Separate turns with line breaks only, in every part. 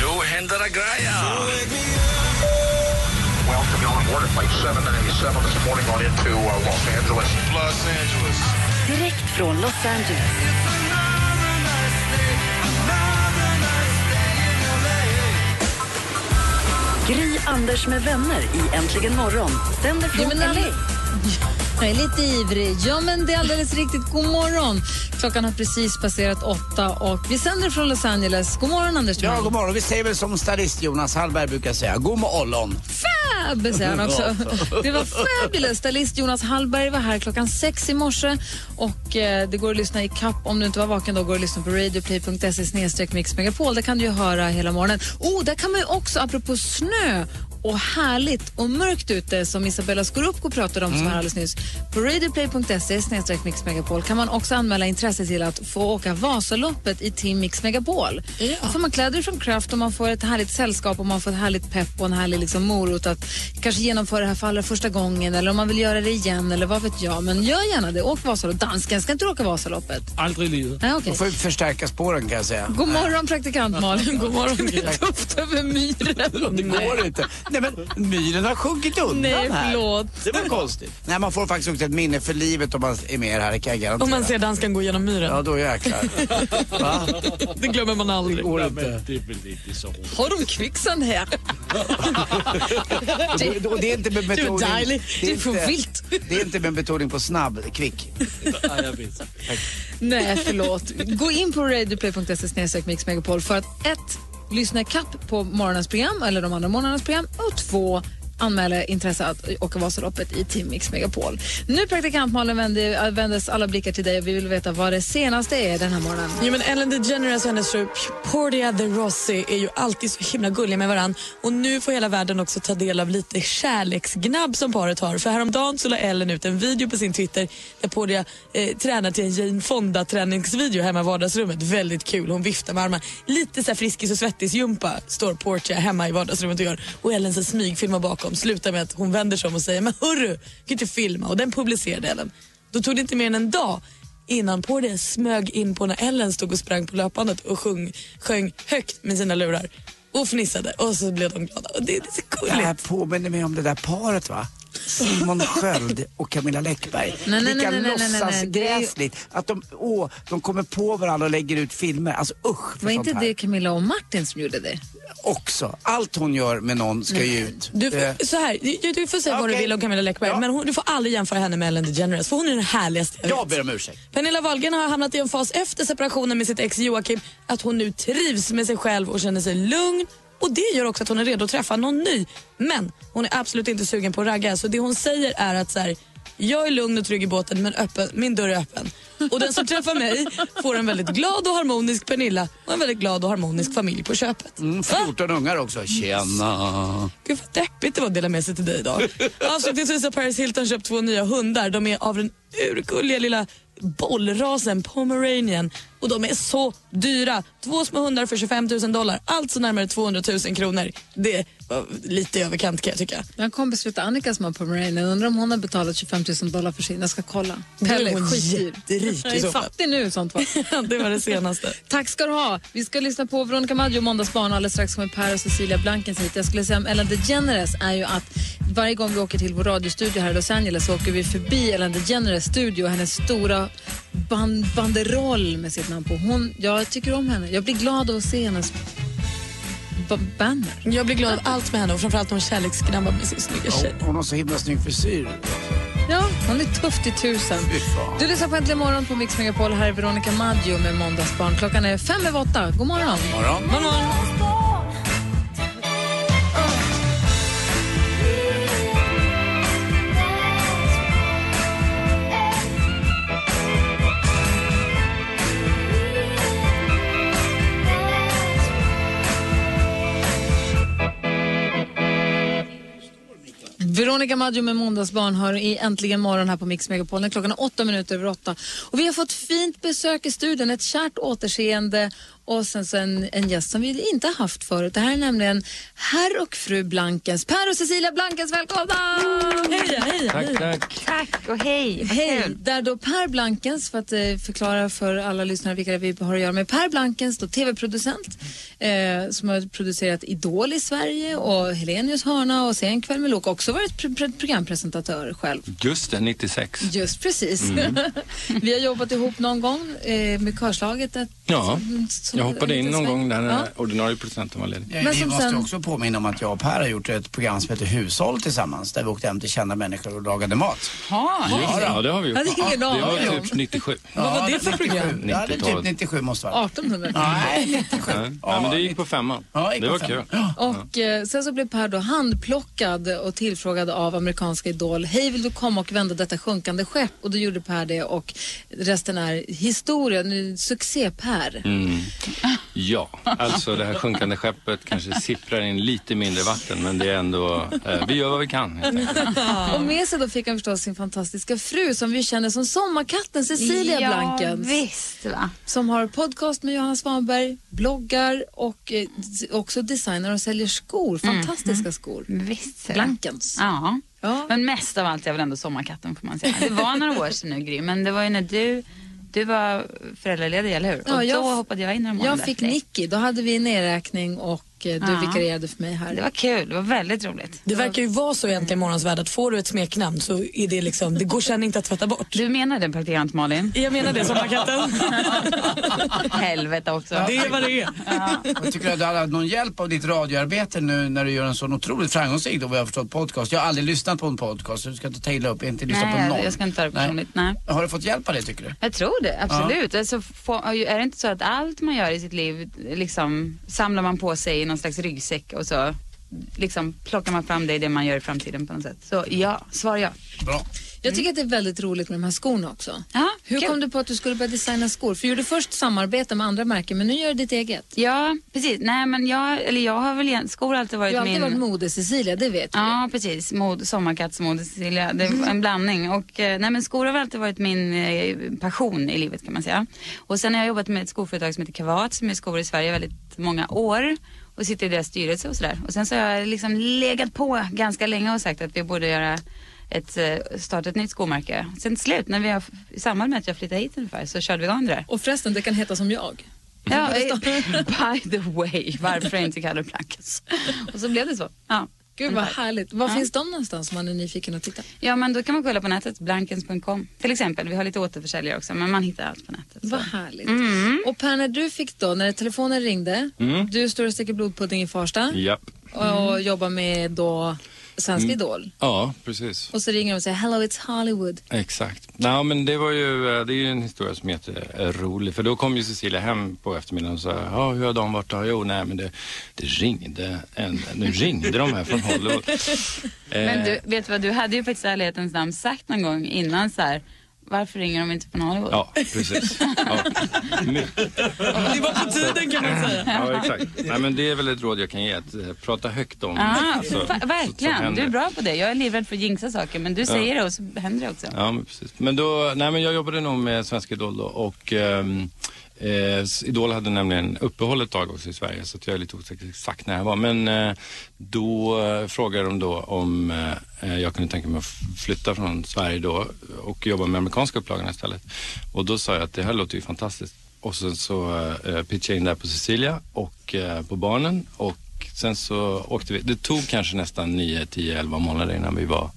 Nu händer det grejer!
Welcome on board flight 797 this morning on into uh, Los Angeles.
Los Angeles.
Direkt från Los Angeles. Gry Anders med vänner i Äntligen morgon. Sänder
Ja,
från
men
LA.
all... Jag är lite ivrig. Ja, men det är alldeles riktigt. God morgon. Klockan har precis passerat åtta och vi sänder från Los Angeles. God morgon, Anders
Ja,
Timell.
god morgon. Vi säger väl som stylist Jonas Hallberg brukar säga, god morgon.
Fab, säger han också. Det var fabulous. Stylist Jonas Hallberg var här klockan sex i morse. Och eh, det går att lyssna i kapp. Om du inte var vaken då går det att lyssna på radioplay.se snedstreck Mix Megapol. Där kan du ju höra hela morgonen. Oh, där kan man ju också, apropå snö och härligt och mörkt ute som Isabella Scorupco pratade om som
Mm.
här alldeles nyss. På radioplay.se snedstreck Mix Megapol kan man också anmäla intresse till att få åka Vasaloppet i Team Mix Megapol. Då får man kläder från Craft och man får ett härligt sällskap och man får ett härligt pepp och en härlig liksom morot att kanske genomföra det här för allra första gången eller om man vill göra det igen eller vad vet jag. Men gör gärna det. Åk Vasaloppet. Dansken ska inte åka Vasaloppet.
Aldrig i livet.
Nej, okej.
Då får vi förstärka spåren kan jag säga.
God morgon praktikant Malin. God morgon. Det är tufft över myren.
Det går inte. Nej men myren har sjunkit undan
Nej,
här.
förlåt.
Det var konstigt. Nej, man får faktiskt också ett minne för livet om man är med er här, det kan jag garantera.
Om man ser danskan gå genom myren.
Ja, då jäklar. Va?
Det glömmer man aldrig.
Går inte.
Har de kvicksand här?
Och- Och det är inte med betoning...
dejlig. Du är för
inte-
vilt.
Det är inte med betoning på snabb, kvick.
Nej, förlåt. Gå in på radioplay.se snedstreck Mix Megapol för att ett, lyssna ikapp på morgonens program eller de andra morgonens program och två, anmäla intresse att åka Vasaloppet i Team Mix Megapol. Nu praktikant Malin vänder, äh, vändes alla blickar till dig och vi vill veta vad det senaste är den här morgonen.
Jo, men Ellen DeGeneres och hennes fru Portia de Rossi är ju alltid så himla gulliga med varann. Och nu får hela världen också ta del av lite kärleksgnabb som paret har. För häromdagen så la Ellen ut en video på sin Twitter där Portia eh, tränar till en Jane Fonda-träningsvideo hemma i vardagsrummet. Väldigt kul. Hon viftar med armarna. Lite så här Friskis och svettis-jumpa står Portia hemma i vardagsrummet och gör. Och Ellen så smygfilmar bakom. Slutar med att hon vänder sig om och säger “Men hörru, du kan inte filma” och den publicerade Ellen. Då tog det inte mer än en dag innan på det smög in på när Ellen stod och sprang på löpbandet och sjung, sjöng högt med sina lurar och fnissade och så blev de glada. Och det, det är så
Det här
gulligt.
påminner mig om det där paret va? Simon Sköld och Camilla Läckberg.
nej, nej,
Lika
nej, nej, nej, nej.
låtsasgräsligt att de, åh, de kommer på varandra och lägger ut filmer. Alltså usch för
Var
sånt
inte
här.
det Camilla och Martin som gjorde det?
Också. Allt hon gör med någon ska ju ut.
Du,
Eh,
får- så här, du, du får säga vad du
Okej.
vill om Camilla Läckberg
Ja.
men hon, du får aldrig jämföra henne med Ellen DeGeneres för hon är den härligaste jag
jag
vet.
ber om ursäkt.
Pernilla Wahlgren har hamnat i en fas efter separationen med sitt ex Joakim att hon nu trivs med sig själv och känner sig lugn. Och Det gör också att hon är redo att träffa någon ny. Men hon är absolut inte sugen på att ragga. Så det hon säger är att så här, jag är lugn och trygg i båten men öppen, min dörr är öppen. Och den som träffar mig får en väldigt glad och harmonisk Pernilla och en väldigt glad och harmonisk familj på köpet.
Mm,
Va?
14 ungar också. Tjena.
Gud vad deppigt det var att dela med sig till dig idag. Avslutningsvis har Paris Hilton köpt två nya hundar. De är av den urgulliga lilla bollrasen pomeranian och de är så dyra. Två små hundar för 25 000 dollar, alltså närmare 200 000 kronor. Det var lite i överkant kan jag tycka.
Jag har en kompis som heter Annika som har Pomeranian. Undrar om hon har betalat 25 000 dollar för sin. Jag ska kolla. Pelle
Då är
är
hon
skitdyr.
jätterik
Jag
i
är
så fall.
fattig nu sånt va?
det var det senaste.
Tack ska du ha. Vi ska lyssna på Veronica Maggio och Måndagsbarn. Alldeles strax kommer Per och Cecilia Blankens hit. Jag skulle säga om Ellen DeGeneres är ju att varje gång vi åker till vår radiostudio här i Los Angeles så åker vi förbi Ellen DeGeneres studio och hennes stora ban- banderoll med sitt namn på. Hon, jag tycker om henne. Jag blir glad av att se hennes ba- banner.
Jag blir glad av allt med henne och framförallt när hon kärleksgrabbar med sin snygga tjej.
Hon har så himla snygg frisyr.
Ja, hon är tuff till tusen.
Fy fan.
Du lyssnar på Äntligen morgon på Mix Megapol. Här är Veronica Maggio med Måndagsbarn. Klockan är fem över åtta. God morgon.
Morgon.
Veronica Maggio med Måndagsbarn hör i Äntligen morgon här på Mix Megapol. Den Klockan är åtta minuter över åtta. Och vi har fått fint besök i studion, ett kärt återseende och sen så en, en gäst som vi inte har haft förut. Det här är nämligen herr och fru Blankens. Per och Cecilia Blankens, välkomna! Hej, hej, hej.
Tack och hej. Vad
Hej!
kul.
Där då Per Blankens, för att eh, förklara för alla lyssnare vilka vi har att göra med. Per Blankens, då tv-producent, eh, som har producerat Idol i Sverige och Helenius hörna och sen kväll med Lok också varit pr- pr- programpresentatör själv.
Just det, 96.
Just precis.
Mm.
vi har jobbat ihop någon gång eh, med körslaget. Ett,
Ja,
som-
jag hoppade in
liten
någon
sväng.
gång när
Ja.
den ordinarie producenten var ledig.
Men
vi
som
måste
sen-
också påminna om att jag och Per har gjort ett program som heter Hushåll tillsammans där vi åkte hem till kända människor och lagade mat.
Just det,
då.
ja, det har vi gjort.
Jag hade ingen
Det
aning
var
om.
typ 97.
Vad var det för program?
Ja, det är typ
90-talet.
97 måste det vara.
1800.
Nej, 97.
Ja. Ja, men det gick på femman.
Ja, gick
det
på
var
femman.
kul.
Och eh, sen så blev Per då handplockad och tillfrågad av amerikanska Idol. Hej, vill du komma och vända detta sjunkande skepp? Och då gjorde Per det och resten är historia. Nu, Succé-Per.
Ja, alltså det här sjunkande skeppet kanske sipprar in lite mindre vatten men det är ändå, eh, vi gör vad vi kan. helt enkelt.
Och med sig då fick han förstås sin fantastiska fru som vi känner som sommarkatten Cecilia
ja,
Blankens.
visst va.
Som har podcast med Johanna Svanberg, bloggar och eh, också designar och säljer skor. Fantastiska skor.
Visst. ser du.
Blankens.
Ja.
Ja.
Men mest av allt är väl ändå sommarkatten får man säga. Det var några år sedan nu Gry, men det var ju när du, du var föräldraledig, eller hur?
Ja,
och
jag-
då hoppade jag in några månader
Jag fick
efter dig.
Nicky, då hade vi nedräkning och eh, du
Ja.
vikarierade för mig här.
Det var kul, det var väldigt roligt.
Det verkar ju vara så egentligen i morgons värld att får du ett smeknamn så är det liksom, det går sen inte att tvätta bort.
Du menar det praktikant Malin?
Jag menar det, sommarkatten.
Helvete också.
Det är vad det är.
Jag tycker att du hade haft någon hjälp av ditt radioarbete nu när du gör en sån otroligt framgångsrik, då vad jag har förstått, podcast. Jag har aldrig lyssnat på en podcast, så du ska inte ta illa upp, inte lyssna
Nej,
på någon.
jag, jag ska inte ta det personligt. Nej.
Har du fått hjälp av det tycker du?
Jag tror det, absolut. Alltså, få, är det inte så att allt man gör i sitt liv liksom, samlar man på sig i någon slags ryggsäck och så liksom, plockar man fram det i det man gör i framtiden på något sätt. Så ja, svar ja.
Bra.
Jag tycker att det är väldigt roligt med de här skorna också.
Ja,
Hur
kul.
kom du på att du skulle börja designa skor? För du gjorde först samarbete med andra märken, men nu gör du ditt eget.
Ja, precis. Nej, men jag, eller jag har väl igen, skor har alltid
Du
varit
har alltid
min...
varit mode-Cecilia, det vet vi.
Ja, precis. Mod, sommarkattsmode, Cecilia. Det var en blandning. Och, eh, nej, men skor har väl alltid varit min eh, passion i livet kan man säga. Och sen har jag jobbat med ett skoföretag som heter Kavat som är skor i Sverige väldigt många år och sitter i deras styrelse och sådär. Och sen så har jag liksom legat på ganska länge och sagt att vi borde göra ett, eh, starta ett nytt skomärke. Sen till slut, när vi har, i samband med att jag flyttade hit ungefär, så körde vi igång det där.
Och förresten, det kan heta som jag.
Ja, eh, by the way, varför är inte Kalle Plankens? Och så blev det så. Ja.
Gud vad härligt. Var finns de någonstans om man är nyfiken och tittar?
Ja, men då kan man kolla på nätet, blankens.com till exempel. Vi har lite återförsäljare också, men man hittar allt på nätet.
Vad härligt. Och Per, när du fick då, när telefonen ringde,
Mm.
du står och steker blodpudding i Farsta
Japp.
och, jobbar med då Svensk
Mm.
Idol.
Ja, precis.
Och så ringer de och säger Hello it's Hollywood.
Exakt. Nej, men det var ju, eh, det är ju en historia som är jätterolig. För då kom ju Cecilia hem på eftermiddagen och sa, ja hur har de varit då? Jo, nej men det, det ringde en, nu ringde de här från Hollywood.
Men
Eh,
du, vet du vad, du hade ju faktiskt i ärlighetens namn sagt någon gång innan så här, varför ringer de inte från Hollywood?
Ja, precis. Ja. Mycket.
Det var på tiden kan man säga.
Ja, exakt. Nej, men det är väl ett råd jag kan ge, att eh, prata högt om alltså,
Ah,
så-
fa-
så- så
verkligen,
händer
du är
det.
bra på det. Jag är livrädd för att jinxa saker, men du säger det och så händer det också.
Ja, men precis. Men då, nej men jag jobbade nog med Svenska Idol då och ehm, eh, Idol hade nämligen uppehåll ett tag också i Sverige så att jag är lite osäker exakt när jag var. Men eh, då eh, frågade de då om eh, jag kunde tänka mig att f- flytta från Sverige då och jobba med amerikanska upplagorna istället. Och då sa jag att det här låter ju fantastiskt. Och sen så eh, pitchade jag in där på Cecilia och eh, på barnen och sen så åkte vi. Det tog kanske nästan 9, 10, 11 månader innan vi var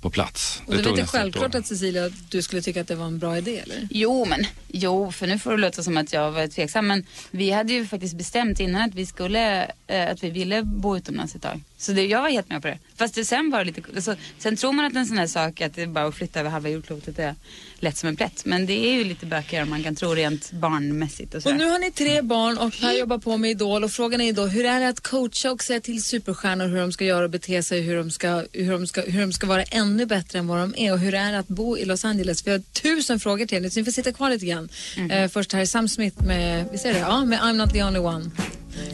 på plats.
Och det
tog
var inte
nästan ett år.
självklart att Cecilia, du skulle tycka att det var en bra idé eller?
Jo, men jo, för nu får det låta som att jag var tveksam. Men vi hade ju faktiskt bestämt innan att vi skulle, eh, att vi ville bo utomlands ett tag. Så det, jag var helt med på det. Fast det sen var det lite, alltså, sen tror man att en sån här sak, att det är bara att flytta över halva jordklotet är lätt som en plätt. Men det är ju lite bökigare än man kan tro rent barnmässigt och
Och nu
sådär.
har ni tre
Mm.
barn och Per jobbar på med Idol och frågan är ju då hur är det att coacha och säga till superstjärnor hur de ska göra och bete sig, hur de ska, hur de ska, hur de ska vara ännu bättre än vad de är och hur är det att bo i Los Angeles? Vi har tusen frågor
Mm.
till er nu så ni får sitta kvar lite grann. Eh, först här är Sam Smith med, vi säger det, ja, med I'm not the only one.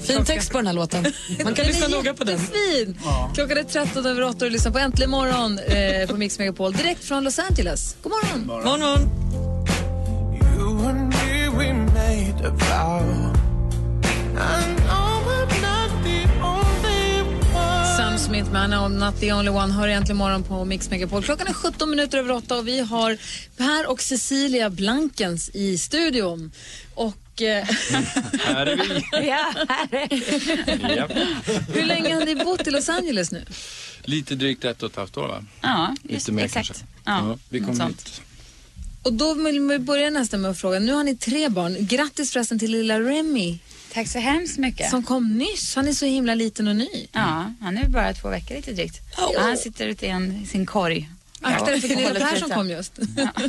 Fin text på den här låten. Man kan lyssna noga på den.
Fin. Klockan är 13 över 8 och du lyssnar på Äntligen morgon eh, på Mix Megapol direkt från Los Angeles. God morgon.
Morgon, morgon.
You and me, we made a vow. I know I'm not the only one.
Sam Smith med Anna om Not the only one hör äntligen morgon på Mix Megapol. Klockan är 17 minuter över 8 och vi har Per och Cecilia Blankens i studion. Och... eh,
Här är vi.
Ja, här är vi.
Japp.
Hur länge har ni bott i Los Angeles nu?
Lite drygt ett och ett halvt år va?
Ja, just
Lite mer
exakt.
kanske.
Ja,
vi
något
kom
sånt.
hit.
Och då vill vi börja nästan med att fråga, nu har ni tre barn. Grattis förresten till lilla Remy
Tack så hemskt mycket.
som kom nyss. Han är så himla liten och ny.
Ja, han är bara två veckor lite drygt. Och Han sitter ute i en, i sin korg.
Akta dig för
Och
lilla
håller
Per
tuta.
som kom just.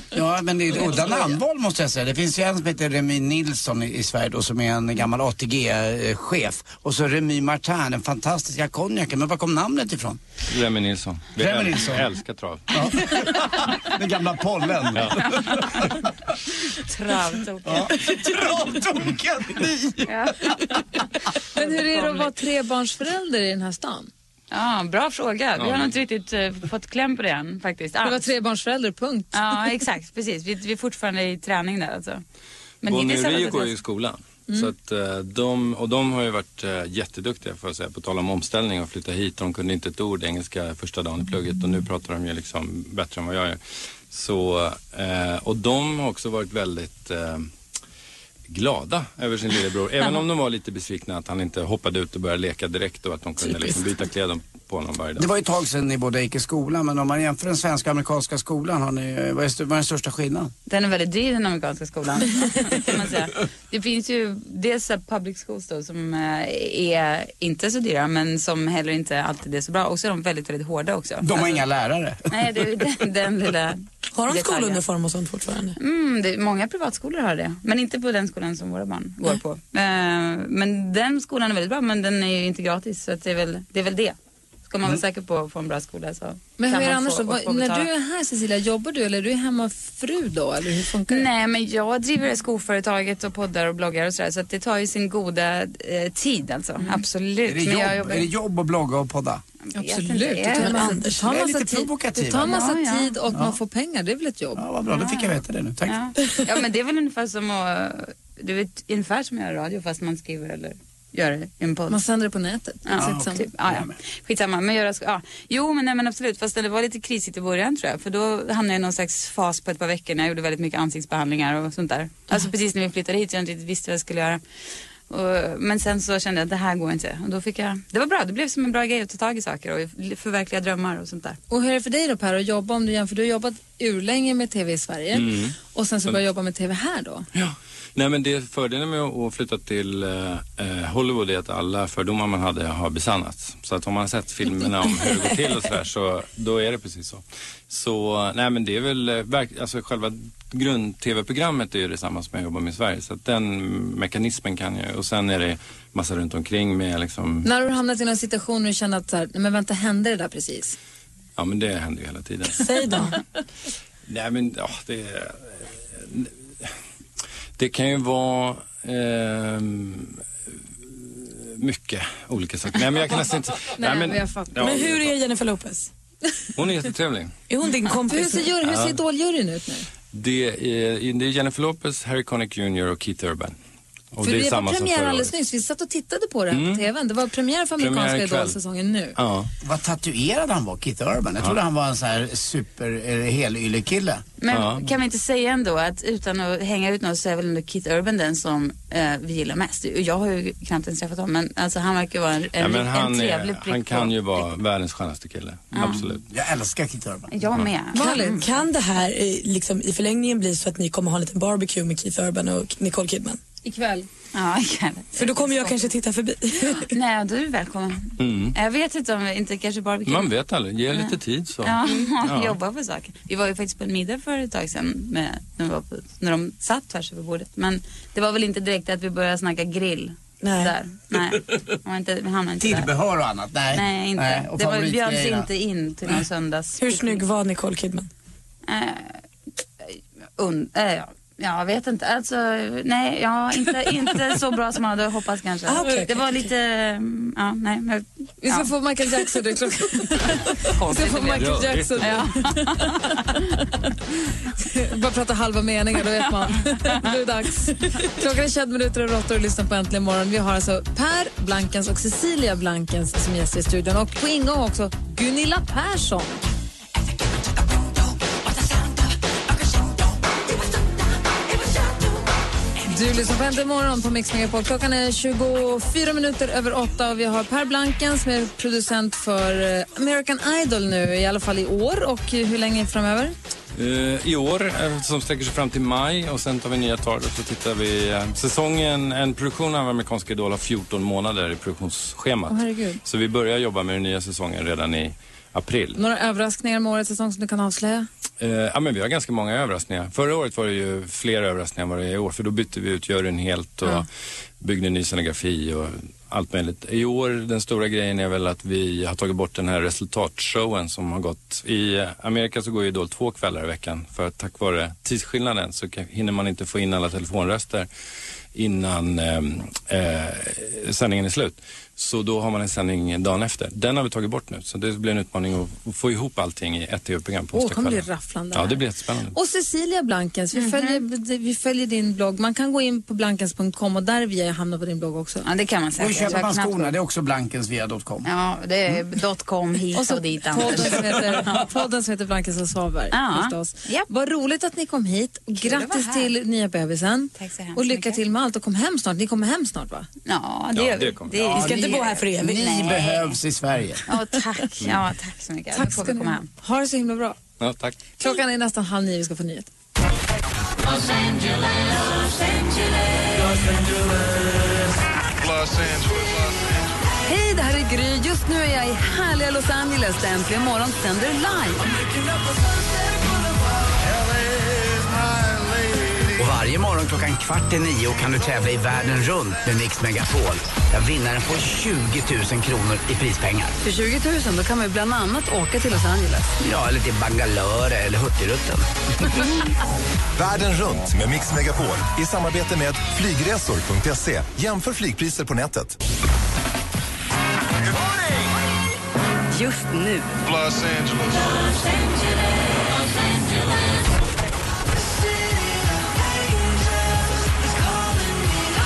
Ja, men det är ett udda namnval måste jag säga. Det finns ju en som heter Remy Nilsson i i Sverige då som är en gammal ATG-chef. Och så Remy Martin, den fantastiska konjaken. Men var kom namnet ifrån?
Remi Nilsson. Vi
Remi
äl-
Nilsson.
älskar trav.
Den gamla pollen.
Ja.
Travtoken.
Travtoken, ni!
Men hur är det att vara trebarnsförälder i den här stan?
Ja, bra fråga. Vi
Ja.
har nog inte riktigt eh, fått kläm på det än faktiskt.
Det var
alls.
trebarnsförälder, punkt.
Ja, exakt. Precis. Vi, vi är fortfarande i träning där alltså.
Bonnie
hittills
och
har det
Rio
gått
går ju i
ganska-
skolan.
Mm.
Så att, eh, de, och de har ju varit eh, jätteduktiga för att säga, på tal om omställning och flytta hit. De kunde inte ett ord engelska första dagen i plugget och nu pratar de ju liksom bättre än vad jag gör. Så, eh, och de har också varit väldigt eh, glada över sin lillebror. Även om de var lite besvikna att han inte hoppade ut och började leka direkt och att de kunde liksom byta kläder på honom varje dag.
Det var ju ett tag sedan ni båda gick i skolan, men om man jämför den svenska och amerikanska skolan, har ni, vad, är, st- vad är den största skillnaden?
Den är väldigt dyr den amerikanska skolan. kan man säga. Det finns ju dels så här public schools då, som eh, är inte så dyra men som heller inte alltid är så bra. Och så är de väldigt, väldigt hårda också.
De har inga lärare.
Nej, det är ju den, den lilla
Har de
detaljen.
skoluniform och sånt fortfarande?
Mm, det, många privatskolor har det, men inte på den skolan som våra barn går på. Eh, men den skolan är väldigt bra, men den är ju inte gratis, så att det, är väl, det är väl det. Ska man vara säker på att få en bra skola så
Men
kan
hur är det
man
annars
få,
då?
och få
Vad- När
betala.
du är här Cecilia, jobbar du eller är du hemmafru då? Eller hur funkar det?
Nej, men jag driver det här skoföretaget och poddar och bloggar och sådär, så att det tar ju sin goda eh, tid alltså. Absolut.
Är det,
Men jag
jobb,
jobbar-
är det jobb att blogga och podda?
Absolut, det
Jag vet
tar
inte.
massa, det tar
jag är
massa
lite
tid.
provokativ.
Det tar massa
Ja, ja.
tid och
Ja.
man får pengar, det är väl ett jobb?
Ja, vad bra. Då fick jag veta det nu. Tack.
Ja. ja, men det är väl ungefär som att, du vet, ungefär som att göra radio fast man skriver eller gör det i en podd.
Man sänder det på nätet.
Ah,
Exakt
Ja,
samma.
typ. ja, ja. Skitsamma, men göra, sk- ja. Jo, men, nej, men absolut, fast det var lite krisigt i början tror jag, för då hamnade jag i någon slags fas på ett par veckor när jag gjorde väldigt mycket ansiktsbehandlingar och sånt där.
Ah.
Alltså precis när vi flyttade hit, så jag inte riktigt visste vad jag skulle göra. Och, men sen så kände jag att det här går inte och då fick jag, det var bra, det blev som en bra grej att ta tag i saker och förverkliga drömmar och sånt där.
Och hur är det för dig då Per att jobba om du jämför? Du har jobbat urlänge med TV i Sverige
Mm.
och sen så börjar jobba med TV här då.
Nej men det fördelen med att flytta till eh, eh, Hollywood är att alla fördomar man hade har besannats. Så att om man har sett filmerna om hur det går till och sådär så då är det precis så. Så nej men det är väl, eh, verk- alltså själva grund-tv-programmet är ju detsamma som jag jobbar med i Sverige. Så att den mekanismen kan jag och sen är det massa runt omkring med liksom,
När har du hamnat i någon situation och du känner att så här, nej men vänta, hände det där precis?
ja men det händer ju hela tiden.
Säg då.
Nej men ja, det, det kan ju vara ehm, mycket olika saker. Nej men jag kan nästan inte... ja,
Men hur är Jennifer Lopez?
Hon är jättetrevlig.
Är hon din kompis?
Hur ser, jur- hur ser
Ja.
Idoljuryn ut nu?
Det är, det är Jennifer Lopez, Harry Connick Jr och Keith Urban. Och
för
det är
det
samma
var
som
premiär
förra året.
alldeles nyss, vi satt och tittade på det här
Mm.
på TVn. Det var premiär för
Premiär
amerikanska
ikväll.
Idol-säsongen nu.
Ja.
Vad tatuerad han var, Keith Urban. Jag trodde han var en sån här super eh, helyllekille.
Men kan vi inte säga ändå att utan att hänga ut någon så är väl ändå Keith Urban den som eh, vi gillar mest. Och Jag har ju knappt ens träffat honom men alltså han verkar vara en, en,
Ja, men
en
han,
trevlig
är,
prick
han kan
på-
ju vara världens skönaste kille.
Ja.
Absolut.
Jag älskar Keith Urban.
Jag med.
Kan, kan det här eh, liksom, i förlängningen bli så att ni kommer ha en liten barbecue med Keith Urban och Nicole Kidman?
Ikväll.
Ja, ikväll.
För då kommer jag kanske titta förbi.
Nej, då är du välkommen.
Mm.
Jag vet inte om, inte kanske barbecue.
Man vet aldrig, ge lite tid så.
Ja,
Ja.
jobba på saker. Vi var ju faktiskt på en middag för ett tag sedan med, när, vi var på, när de satt tvärs över bordet. Men det var väl inte direkt att vi började snacka grill.
Nej.
Där. Nej. Det var inte, vi hamnade inte där.
Tillbehör och annat? Nej.
Nej, inte.
Nej, och
det var,
favoritgrejerna.
bjöds inte in till någon söndags...
Hur snygg var Nicole Kidman?
Eh, un, eh, ja. Jag vet inte. Alltså, nej, ja, inte, inte så bra som man hade hoppats kanske.
Ah, okej,
det
okej,
var lite, mm, ja, nej. Men,
Vi ska få Michael Jackson i klockan. Vi ska få Michael
Ja,
Jackson.
Ja.
Bara prata halva meningar, då vet man. Nu är det dags. Klockan är 21 minuter över 8 och du lyssnar på Äntligen morgon. Vi har alltså Per Blankens och Cecilia Blankens som gäster i studion och på ingång också Gunilla Persson. Du lyssnar på Äntligen morgon på Mix Megapol. Klockan är 24 minuter över 8 och vi har Per Blanken som är producent för eh, American Idol nu, i alla fall i år och hur länge framöver?
Eh, I år, eh, som sträcker sig fram till maj och sen tar vi nya tag och så tittar vi... eh, Säsongen, en produktion av Amerikanska Idol har 14 månader i produktionsschemat.
Åh, herregud.
Så vi börjar jobba med den nya säsongen redan i april.
Några överraskningar med årets säsong som du kan avslöja?
Eh, ja, men vi har ganska många överraskningar. Förra året var det ju fler överraskningar än vad det är i år för då bytte vi ut juryn helt och
Ja.
byggde en ny scenografi och allt möjligt. I år, den stora grejen är väl att vi har tagit bort den här resultatshowen som har gått. I eh, Amerika så går ju Idol två kvällar i veckan för att tack vare tidsskillnaden så kan- hinner man inte få in alla telefonröster innan ehm, eh, sändningen är slut. Så då har man en sändning dagen efter. Den har vi tagit bort nu så det blir en utmaning att- att få ihop allting i ett tv-program på
Åh, det
onsdagskvällen.
kommer bli rafflande.
Ja, det blir jättespännande.
Och Cecilia Blankens, vi, följer, vi följer din blogg. Man kan gå in på blankens.com och där via hamnar på din blogg också.
Ja, det kan man
Och köper man
knappt-
skorna, Mm. det är också blankensvia.com.
Ja, det är dotcom
Och
hit
så
och dit
podden
Anders.
som heter, podden som heter Blankens och Svaberg
Ja.
förstås. Vad roligt att ni kom hit.
att
Grattis
vara här.
till nya bebisen.
Tack så hemskt
och lycka
mycket.
till med allt och kom hem snart. Ni kommer hem snart va?
Ja, det gör vi.
Ja,
vi ska inte bo här för evigt.
Ni behövs i Sverige.
Ja, tack. Ja, tack så mycket.
Tack
Nu
ska
får vi
ni
komma
ha.
hem.
Ha det så himla bra.
Ja, tack.
Klockan är nästan halv nio, vi ska få nyheter.
Los Angeles.
Hej, det här är Gry. Just nu är jag i härliga Los Angeles där Äntligen morgon sänder live.
Och varje morgon klockan kvart i nio kan du tävla i världen runt med Mix Megapol. Där vinnaren får 20 000 kronor i prispengar.
För 20 000 då kan man ju bland annat åka till Los Angeles.
Ja, eller till Bangalore eller Hurtigruten.
Världen runt med Mix Megapol i samarbete med flygresor.se. Jämför flygpriser på nätet.
Just nu.
Los Angeles.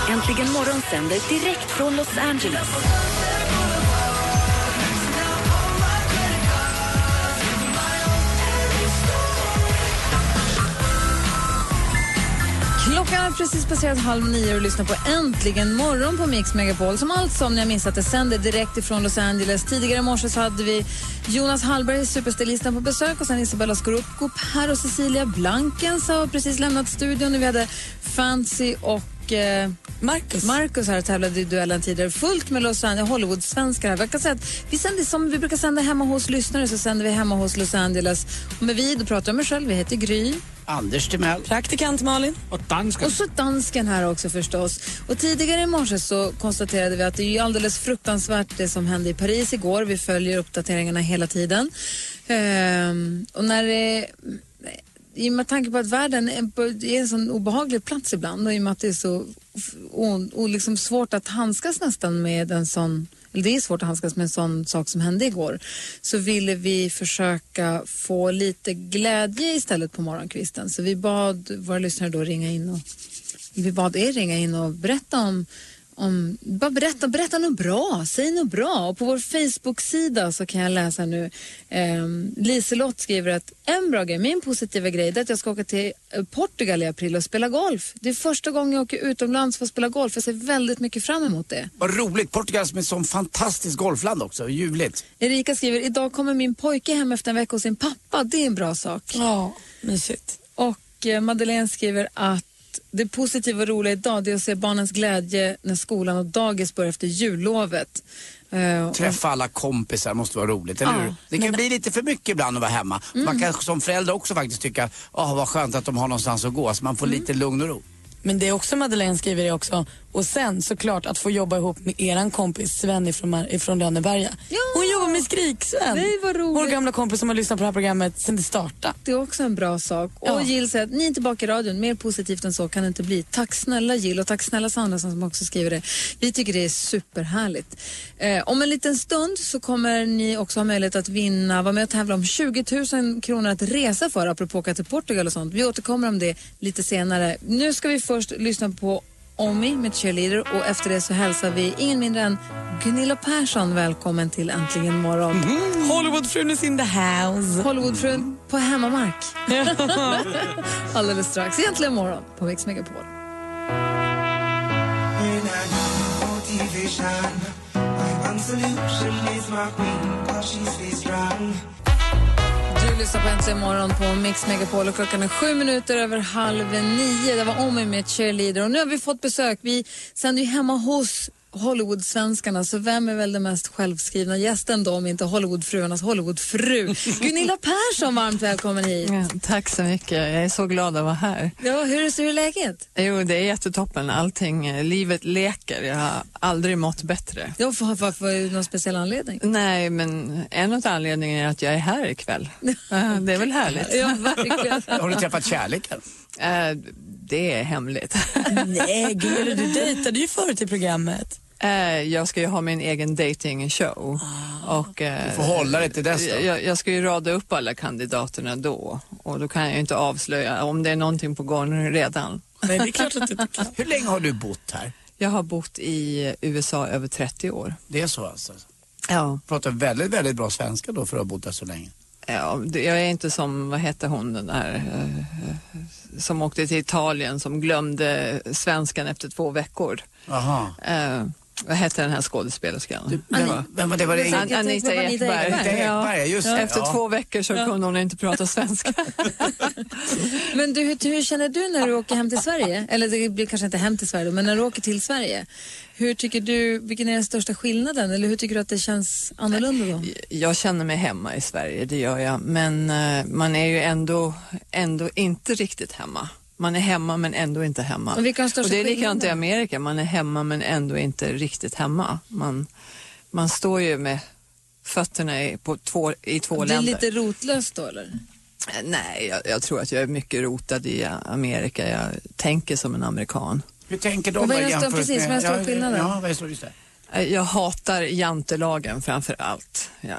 Äntligen morgon sänder direkt från Los Angeles.
Klockan är precis passerat halv nio och lyssnar på Äntligen morgon på Mix Megapol som alltså, om ni har missat det, sänder direkt ifrån Los Angeles. Tidigare i morse så hade vi Jonas Hallberg, superstilisten, på besök och sen Isabella Scorupco, Per och Cecilia Blankens har precis lämnat studion och vi hade Fancy och eh, Marcus. Marcus här och tävlade i duellen tidigare. Fullt med Los Angeles, Hollywood-svenskar här. Jag kan säga att vi sänder som vi brukar sända hemma hos lyssnare så sänder vi hemma hos Los Angeles. Och med vi, då pratar jag om mig själv. Vi heter Gry.
Anders Timell.
Praktikant Malin.
Och dansken.
Och så dansken här också förstås. Och tidigare i morse så konstaterade vi att det är ju alldeles fruktansvärt det som hände i Paris igår. Vi följer uppdateringarna hela tiden. Ehm, och när det, i och med tanke på att världen är på- är en sån obehaglig plats ibland och i och med att det är så f- o, o, liksom svårt att handskas nästan med en sån eller det är svårt att handskas med en sån sak som hände igår, så ville vi försöka få lite glädje istället på morgonkvisten. Så vi bad våra lyssnare då ringa in och vi bad er ringa in och berätta om, om bara berätta, berätta något bra, säg något bra. Och på vår Facebook-sida så kan jag läsa nu, eh, Liselott skriver att en bra grej, min positiva grej, det är att jag ska åka till eh, Portugal i april och spela golf. Det är första gången jag åker utomlands för att spela golf, jag ser väldigt mycket fram emot det.
Vad roligt. Portugal som är ett sånt fantastiskt golfland också. Ljuvligt.
Erika skriver, idag kommer min pojke hem efter en vecka hos sin pappa. Det är en bra sak.
Ja, mysigt.
Och eh, Madeleine skriver att det positiva och roliga idag det är att se barnens glädje när skolan och dagis börjar efter jullovet. Eh, och-
Träffa alla kompisar måste vara roligt, eller
Ja.
hur? Det kan bli lite för mycket ibland att vara hemma. Man kan som förälder också faktiskt tycka, åh vad skönt att de har någonstans att gå, så man får lite lugn och ro.
Men det är också Madeleine skriver är också, Och sen såklart att få jobba ihop med eran kompis Sven ifrån, Mar- ifrån Lönneberga. Hon jobbar med Skrik-Sven.
Nej, vad roligt.
Vår gamla kompis som har lyssnat på det här programmet sedan det startade.
Det är också en bra sak.
Ja.
Och Jill säger att ni är tillbaka i radion. Mer positivt än så kan det inte bli. Tack snälla Jill och tack snälla Sandra som också skriver det. Vi tycker det är superhärligt. Eh, om en liten stund så kommer ni också ha möjlighet att vinna, vara med och tävla om 20 000 kronor att resa för apropå åka till Portugal och sånt. Vi återkommer om det lite senare. Nu ska vi först lyssna på Omi med Cheerleader och efter det så hälsar vi ingen mindre än Gunilla Persson välkommen till Äntligen morgon.
Hollywoodfrun is in the house.
Hollywoodfrun på hemmamark. Alldeles strax. Egentligen morgon på Mix Megapol. Du lyssnar på Äntligen morgon på Mix Megapol och klockan är sju minuter över halv nio. Det var Omi med Cheerleader och nu har vi fått besök. Vi sänder ju hemma hos Hollywood-svenskarna, så vem är väl den mest självskrivna gästen då om inte Hollywoodfruarnas Hollywoodfru? Gunilla Persson, varmt välkommen hit.
Ja, tack så mycket. Jag är så glad att vara här.
Ja, hur, är- hur är läget?
Jo, det är jättetoppen. Allting, eh, livet leker. Jag har aldrig mått bättre.
Ja, för, för, för någon speciell anledning?
Nej, men en av anledningarna är att jag är här ikväll. Eh, det är väl härligt?
Ja, verkligen.
Har du träffat kärleken?
Eh, det är hemligt.
Nej, Gunilla, du dejtade ju förut i programmet.
Eh, Jag ska ju ha min egen dating-show.
Ah.
Och, eh,
Du får hålla dig till dess då.
Jag, jag ska ju rada upp alla kandidaterna då och då kan jag ju inte avslöja om det är någonting på gång redan.
Nej, det är klart att du inte kan.
Hur länge har du bott här?
Jag har bott i USA över 30 år.
Det är så alltså?
Ja.
Pratar väldigt, väldigt bra svenska då för att ha bott där så länge.
Ja, det- jag är inte som, vad hette hon den där, eh, som åkte till Italien som glömde svenskan efter två veckor.
Aha.
Eh, vad hette den här skådespelerskan?
vem var- vem var det? Var det Anita-
An-
Anita
Anita Ekberg.
Ekberg, ja, just det,
Efter
ja.
två veckor så kunde hon inte prata svenska.
Men du, hur, hur känner du när du åker hem till Sverige? Eller det blir kanske inte hem till Sverige, men när du åker till Sverige. Hur tycker du, vilken är den största skillnaden? Eller hur tycker du att det känns annorlunda då?
jag känner mig hemma i Sverige, det gör jag. Men eh, man är ju ändå, ändå inte riktigt hemma. Man är hemma men ändå inte hemma.
Och vilka är de största
det är likadant i
skillnaderna?
Amerika, man är hemma men ändå inte riktigt hemma. Man, man står ju med fötterna i, på två, i två
Det är
länder.
lite rotlöst då eller?
Eh, Nej, jag, jag tror att jag är mycket rotad i eh, Amerika. Jag tänker som en amerikan.
Hur tänker de
Och vad är
då
den stö-
jämfört
precis,
med-
vad är den stora
Ja,
skillnaden?
Ja, vad är så, just det.
Eh, Jag hatar jantelagen framför allt. Jag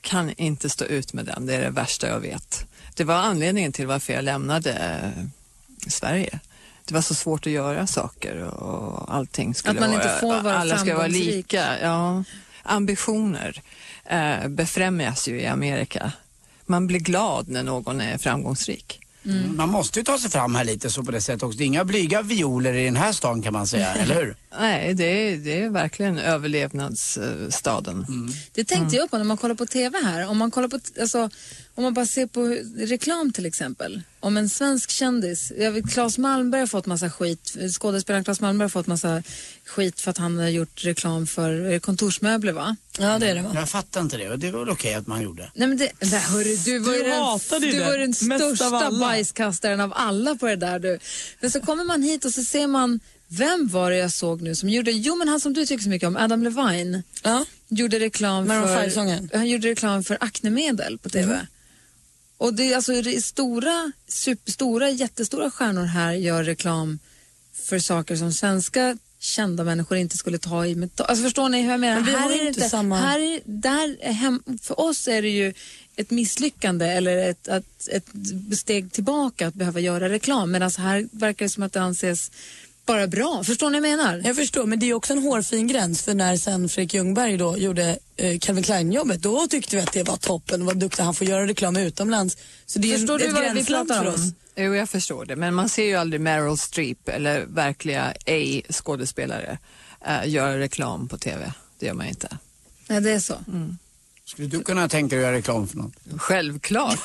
kan inte stå ut med den, det är det värsta jag vet. Det var anledningen till varför jag lämnade eh, Sverige. Det var så svårt att göra saker och allting skulle
Att man
vara,
inte får vara
alla ska vara
framgångsrik.
lika. Ja. Ambitioner eh, befrämjas ju i Amerika. Man blir glad när någon är framgångsrik.
Man måste ju ta sig fram här lite så på det sättet också. Det är inga blyga violer i den här stan kan man säga, eller hur?
Nej, det är, det är verkligen överlevnadsstaden.
Mm. Det tänkte jag på när man kollar på TV här. Om man, kollar på, t- alltså, om man bara ser på hur- reklam till exempel. Om en svensk kändis, jag vet, Claes Malmberg har fått massa skit, skådespelaren Claes Malmberg har fått massa skit för att han har gjort reklam för eh, kontorsmöbler va? Ja det är det va?
Jag fattar inte det. Det var väl okej att man gjorde.
Nej men det, det, hörru, du var ju
Du
den,
hatade ju
du
det.
var den
Mest av
största
alla.
bajskastaren av alla på det där du. Men så kommer man hit och så ser man, vem var det jag såg nu som gjorde, jo men han som du tycker så mycket om, Adam Levine, gjorde reklam
Maroon
för,
5-sången.
han gjorde reklam för aknemedel på
Mm.
TV. Och det är alltså det är stora, super, stora, jättestora stjärnor här gör reklam för saker som svenska kända människor inte skulle ta i med ta- Alltså förstår ni hur jag menar?
Men vi
här
har ju
det
inte samma-
Här är, där är hem, för oss är det ju ett misslyckande eller ett, att, ett steg tillbaka att behöva göra reklam medan här verkar det som att det anses bara bra. Förstår ni vad jag menar?
Jag förstår, men det är också en hårfin gräns för när sen Fredrik Ljungberg då gjorde eh, Calvin Klein-jobbet, då tyckte vi att det var toppen, vad duktig han får göra reklam utomlands. Så det är en, ett gränsland för oss.
Jo, jag förstår det. Men man ser ju aldrig Meryl Streep eller verkliga A-skådespelare eh, göra reklam på TV. Det gör man inte.
Nej, det är så.
Skulle du kunna tänka dig att göra reklam för något?
Självklart.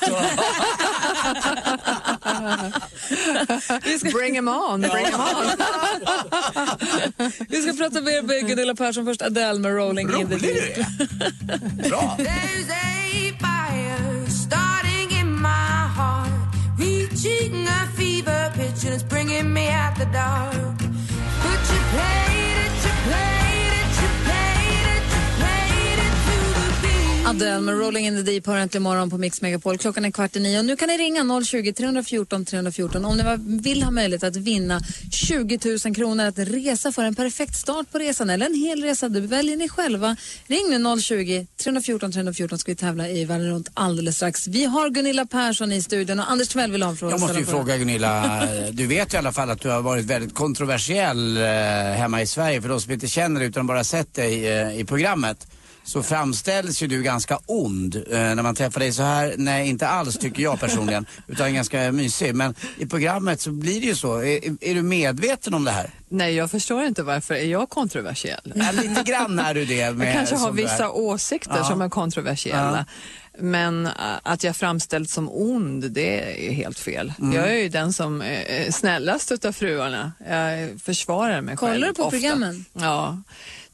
Bring 'em on. Bring 'em on.
Vi ska prata mer med Gunilla Persson först, Adele med Rolling in the Deep.
There's a fire starting in my heart, reaching a fever pitch, and it's bringing me out the dark. Put your
Adele med Rolling in the Deep har äntligen morgon på Mix Megapol. Klockan är kvart i nio. Och nu kan ni ringa 020-314 314 om ni var- vill ha möjlighet att vinna 20 000 kronor att resa för en perfekt start på resan eller en hel resa. Det väljer ni själva. Ring nu 020-314 314 ska vi tävla i världen runt alldeles strax. Vi har Gunilla Persson i studion och Anders Tvell vill ha en fråga.
Jag måste ju
Ställa
fråga Gunilla, eh, du vet ju i alla fall att du har varit väldigt kontroversiell eh, hemma i Sverige. För de som inte känner dig utan bara sett dig eh, i programmet så framställs ju du ganska ond eh, när man träffar dig så här. Nej, inte alls tycker jag personligen, utan ganska mysig. Men i programmet så blir det ju så. Är, är du medveten om det här?
Nej, jag förstår inte varför. Är jag kontroversiell?
Ja, lite grann är du det. Med,
jag kanske
Eh,
har
som du är.
vissa åsikter
Ja.
som är kontroversiella. Men äh, att jag framställs som ond, det är ju helt fel.
Mm.
Jag är ju den som är snällast utav fruarna. Jag försvarar mig
Kollar
själv
du på
ofta.
programmen?
Ja,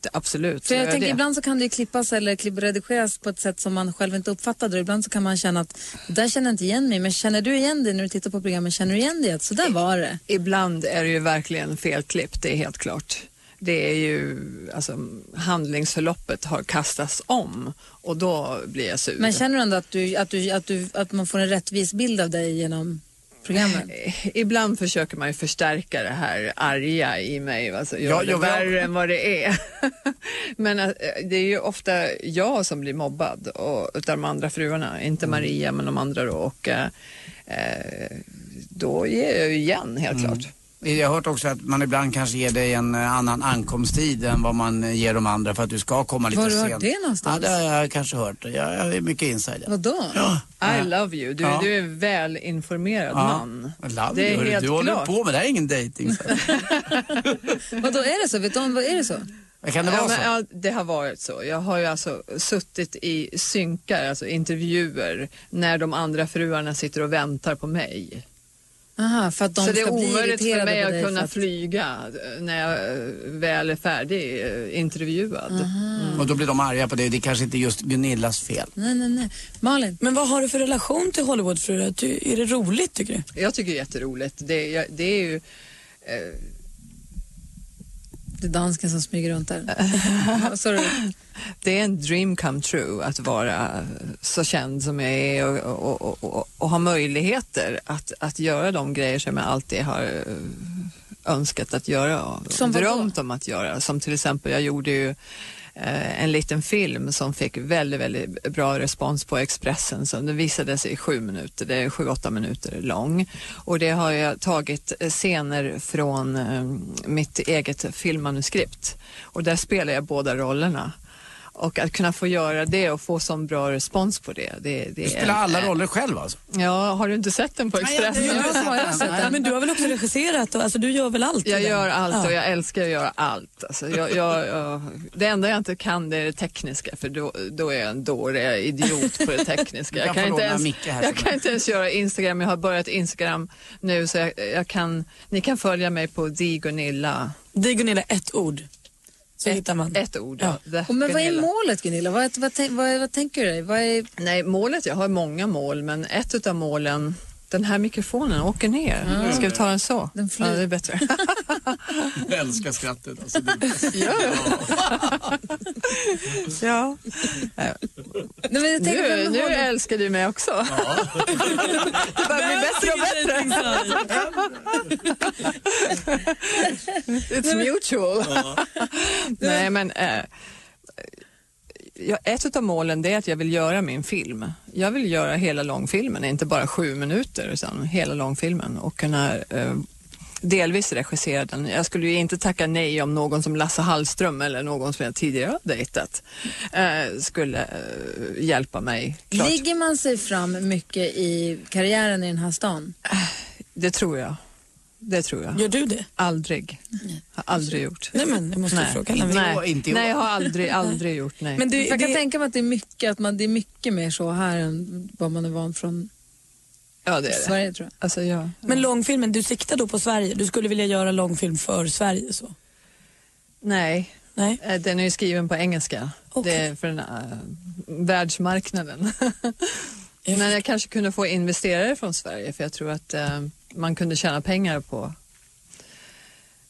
det, absolut.
För
gör
jag tänker
Eh, det.
ibland så kan det ju klippas eller klipp- redigeras på ett sätt som man själv inte uppfattade och ibland så kan man känna att det där känner jag inte igen mig men känner du igen dig när du tittar på programmen? Känner du igen dig att så där var det?
Ibland är det ju verkligen felklippt, det är helt klart. Det är ju, alltså handlingsförloppet har kastats om och då blir jag sur.
Men känner du ändå att, du, att, du, att, du, att man får en rättvis bild av dig genom programmen?
Eh, Ibland försöker man ju förstärka det här arga i mig, alltså göra
Ja,
det
ja, väl.
värre än vad det är. Men eh, det är ju ofta jag som blir mobbad och, utav de andra fruarna,
Mm.
inte Maria men de andra då och eh, eh, då ger jag ju igen helt
Mm.
klart.
Jag har hört också att man ibland kanske ger dig en eh, annan ankomsttid än vad man eh, ger de andra för att du ska komma lite
Var har du
sent.
hört det någonstans?
Ja, det har jag kanske hört. Jag, jag är mycket insider.
Vadå?
I love you, du,
Ja.
du är en välinformerad man.
Love
Det är
you.
helt
du håller
klart.
på med det här är ingen dejting. så.
Vadå, är det så? Vet du om, vad är det så?
Kan det
ja,
vara
men,
så?
Ja, det har varit så. Jag har ju alltså suttit i synkar, alltså intervjuer, när de andra fruarna sitter och väntar på mig.
Aha, för att de
så det är
ska bli
omöjligt för
irriterade
mig
på dig
att kunna
för att-
flyga eh, när jag eh, väl är färdig eh, intervjuad.
Mm. Och då blir de arga på dig. Det är kanske inte är just Gunillas fel.
Nej, nej, nej. Malin?
Men vad har du för relation till Hollywoodfruar? Du- Är det roligt tycker du?
Jag tycker det är jätteroligt. Det, jag, det är ju... Eh,
Det är dansken som smyger runt där.
det är en dream come true att vara så känd som jag är och, och, och, och, och ha möjligheter att, att göra de grejer som jag alltid har eh, önskat att göra och
Som vadå?
drömt om att göra. Som till exempel, jag gjorde ju eh, en liten film som fick väldigt, väldigt bra respons på Expressen. Som den visade sig i sju minuter, det är sju, åtta minuter lång. Och det har jag tagit eh, scener från eh, mitt eget filmmanuskript. Och där spelar jag båda rollerna. Och att kunna få göra det och få sån bra respons på det. det, det
Du spelar alla roller själv alltså?
Ja, har du inte sett den på Expressen?
Men du har väl också regisserat? Och, alltså, du gör väl allt? i
Jag
den?
gör allt
Ja.
och jag älskar att göra allt. Alltså, jag, jag, jag, det enda jag inte kan det är det tekniska för då, då är jag en dåre, jag är idiot på det tekniska.
Du kan
Jag kan,
få
inte
låna
ens,
Micke här som
jag kan inte ens göra Instagram, jag har börjat Instagram nu så jag, jag kan, ni kan följa mig på Digunilla.
Digunilla, ett ord. Så
ett,
hittar man.
Ett ord, ja. The
Och men vad är
Gunilla.
målet Gunilla? Vad, vad, tänk- vad, vad tänker du dig? Vad är...
Nej, målet, jag har många mål men ett utav målen, den här mikrofonen åker ner.
Mm.
Ska vi ta den så?
Den
ja, det är bättre.
Jag älskar skrattet. Alltså,
ja.
Nej, men jag tänker på
nu,
den
nu
håller-
älskar du mig också. det börjar bli bättre och bättre. It's mutual. Nej, men eh, jag, ett av målen det är att jag vill göra min film. Jag vill göra hela långfilmen, inte bara sju minuter utan hela långfilmen och kunna eh, delvis regissera den. Jag skulle ju inte tacka nej om någon som Lasse Hallström eller någon som jag tidigare har dejtat eh, skulle eh, hjälpa mig. Klart.
Ligger man sig fram mycket i karriären i den här stan?
Det tror jag. Det tror jag.
Gör du det?
Aldrig. Har aldrig gjort.
Nej, men jag måste
nej.
fråga.
Nej. nej, jag har aldrig, aldrig gjort nej.
Men jag kan tänka mig att det är mycket, att man, det är mycket mer så här än vad man är van från
ja, det är det.
Sverige tror jag.
Alltså, ja.
Men långfilmen, du siktar då på Sverige? Du skulle vilja göra långfilm för Sverige? så?
Nej. Eh,
nej.
Den är ju skriven på engelska. Det är för den, eh, världsmarknaden. men jag kanske kunde få investerare från Sverige för jag tror att eh, man kunde tjäna pengar på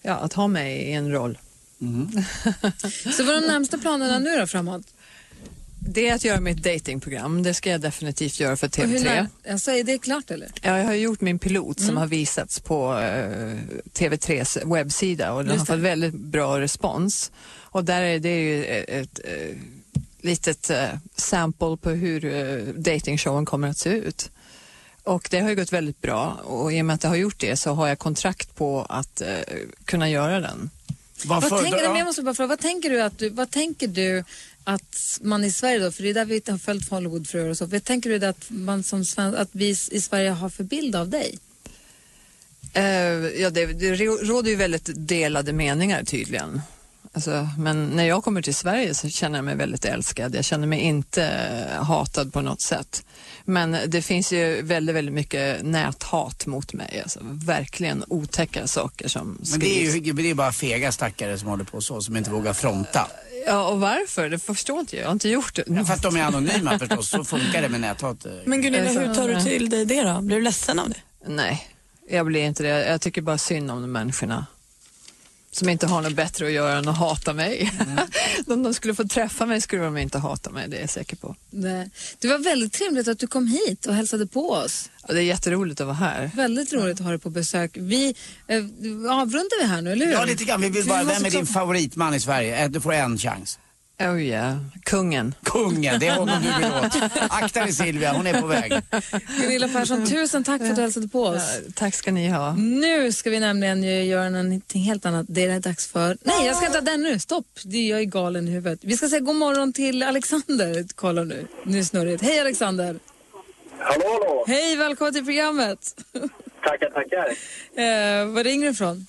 ja, att ha mig i en roll.
Mm-hmm. Så vad är de närmsta planerna nu då framåt?
det är att göra mitt datingprogram. Det ska jag definitivt göra för
Och hur
TV3.
lär- alltså, är det klart eller?
Ja, jag har gjort min pilot som
Mm.
har visats på eh, TV3s webbsida och den
Just
har fått
det.
väldigt bra respons. Och där är det ju ett, ett eh, litet eh, sample på hur eh, datingshowen kommer att se ut. Och det har ju gått väldigt bra och i och med att jag har gjort det så har jag kontrakt på att eh, kunna göra den.
Vad tänker, nej, men jag måste bara fråga, vad tänker du att du, vad tänker du att man i Sverige då, för det är där vi har följt Hollywood för och så, vad tänker du att, man som svensk, att vi i Sverige har för bild av dig?
Eh, ja, det, det rå- råder ju väldigt delade meningar tydligen. Alltså, men när jag kommer till Sverige så känner jag mig väldigt älskad. Jag känner mig inte eh, hatad på något sätt. Men det finns ju väldigt, väldigt mycket näthat mot mig. Alltså, verkligen otäcka saker som
Men det är
skrivs.
ju det är bara fega stackare som håller på så, som inte vågar fronta.
Ja, och varför? Det förstår inte jag. Jag har inte gjort det.
För att de är anonyma förstås, så funkar det med näthat. eh,
Men Gunilla,
Alltså,
hur tar du till
dig det då? Blir du ledsen av det? Nej, jag blir inte det. Jag tycker bara synd om de människorna som inte har något bättre att göra än att hata mig. Om de skulle få träffa mig skulle de inte hata mig, det är jag säker på.
Nej. Det var väldigt trevligt att du kom hit och hälsade på oss.
Ja, det är jätteroligt att vara här.
Väldigt roligt att ha dig på besök. Vi eh, avrundar vi här nu, eller hur?
Ja, lite grann. Vi vill bara,
måste
vem är din
klart-
favoritman i Sverige? Eh, Du får en chans.
Oh yeah. Kungen.
Kungen, det är honom du vill åt. Akta dig Silvia, hon är på väg.
Gunilla Persson, tusen tack för att du hälsade på oss.
Ja, tack ska ni ha.
Nu ska vi nämligen ju göra någonting helt annat. Det är det dags för... Nej, jag ska inte ha den nu. Stopp. Det är jag är galen i huvudet. Vi ska säga god morgon till Alexander. Kolla nu. Nu är snurrigt. Hej Alexander.
Hallå, hallå!
Hej, välkommen till programmet.
Tackar, tackar.
Eh, var ringer du ifrån?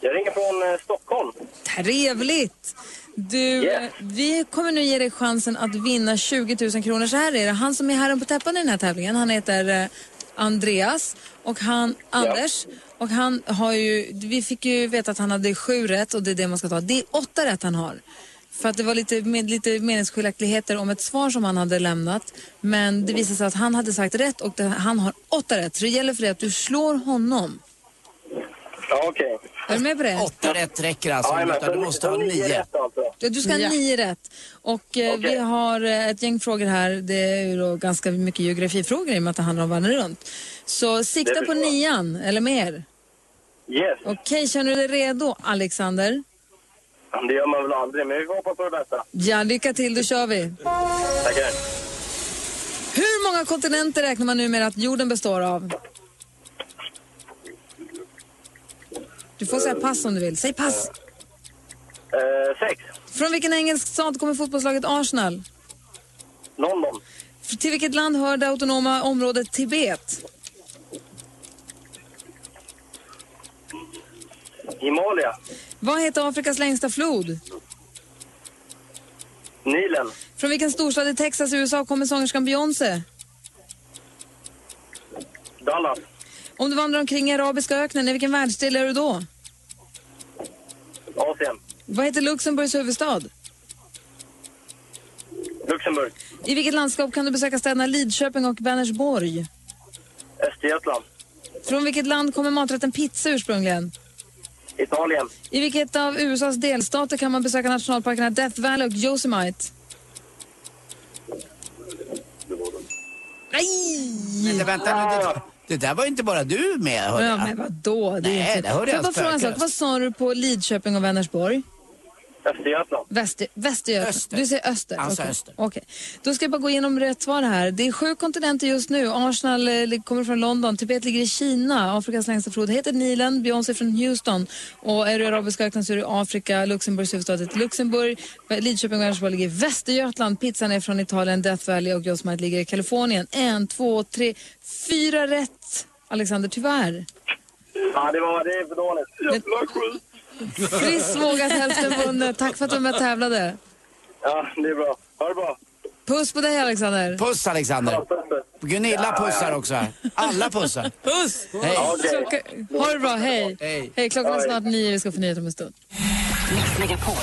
Jag ringer från eh, Stockholm.
Trevligt. Du, eh, vi kommer nu ge dig chansen att vinna 20 000 kronor. Så här är det. Han som är herren på täppan i den här tävlingen, han heter eh, Andreas och han Anders. Och han har ju, vi fick ju veta att han hade sju rätt och det är det man ska ta. Det är åtta rätt han har. För att det var lite, med, lite meningsskiljaktigheter om ett svar som han hade lämnat. Men det visade sig att han hade sagt rätt och det, han har åtta rätt. Så det gäller för dig att du slår honom.
Ja, okej.
Är du med på det?
Åtta rätt räcker alltså.
Jajamän,
utan du
så-
måste
så
ha nio.
rätt alltså.
Ja, du ska ha
Ja.
nio rätt. Och eh, vi har eh, ett gäng frågor här. Det är ju då ganska mycket geografifrågor i och med att det handlar om världen runt. Så sikta
Det
på
förstår jag.
nian eller mer.
Yes,
Okej, känner du dig redo, Alexander?
det gör man väl aldrig, men vi får hoppas på det bästa.
Ja, lycka till. Då kör vi.
Tackar.
Hur många kontinenter räknar man numera att jorden består av? Du får säga pass om du vill. Säg pass.
Eh, sex.
Från vilken engelsk stad kommer fotbollslaget Arsenal?
London.
Till vilket land hör det autonoma området Tibet?
Himalaya.
Vad heter Afrikas längsta flod?
Nilen.
Från vilken storstad i Texas i USA kommer sångerskan Beyoncé?
Dallas.
Om du vandrar omkring i arabiska öknen, i vilken världsdel är du då?
Asien.
Vad heter Luxemburgs huvudstad?
Luxemburg.
I vilket landskap kan du besöka städerna Lidköping och Vänersborg?
Östergötland.
Från vilket land kommer maträtten pizza ursprungligen?
Italien.
I vilket av USAs delstater kan man besöka nationalparkerna Death Valley och Yosemite? Nej!
Vänta, vänta, vänta. Det där var inte bara du med, hörde
Ja,
jag.
men vadå? Det är
Nej,
inte-
det hörde
Får jag
jag
bara fråga en sak?
spökar.
Vad sa du på Lidköping och Vänersborg?
Östergötland.
Väster, Västergötland.
Öster.
Du säger öster?
Han sa
Okej.
öster.
Okej. Då ska jag bara gå igenom rätt svar här. Det är sju kontinenter just nu. Arsenal eh, lig- kommer från London, Tibet ligger i Kina, Afrikas längsta flod heter Nilen, Beyoncé från Houston och är du i arabiska öknen så är det Afrika, Luxemburgs huvudstad heter Luxemburg, Lidköping och Vänersborg ligger i Västergötland, pizzan är från Italien, Death Valley och Yosemite ligger i Kalifornien. En, två, tre, fyra rätt. Alexander, tyvärr.
Ja, det var det är för dåligt. Jävla skit.
Friss vågat, hälften vunnet. Tack för att du var med och tävlade.
Ja, det är bra. Ha det bra.
Puss på dig, Alexander.
Puss Alexander. Gunilla
Ja,
pussar
ja.
också här. Alla pussar.
Puss!
Hej.
Klocka, ha det bra, hej.
Hej.
klockan är snart nio, vi ska få nyheter om en stund.
Mix Megapol.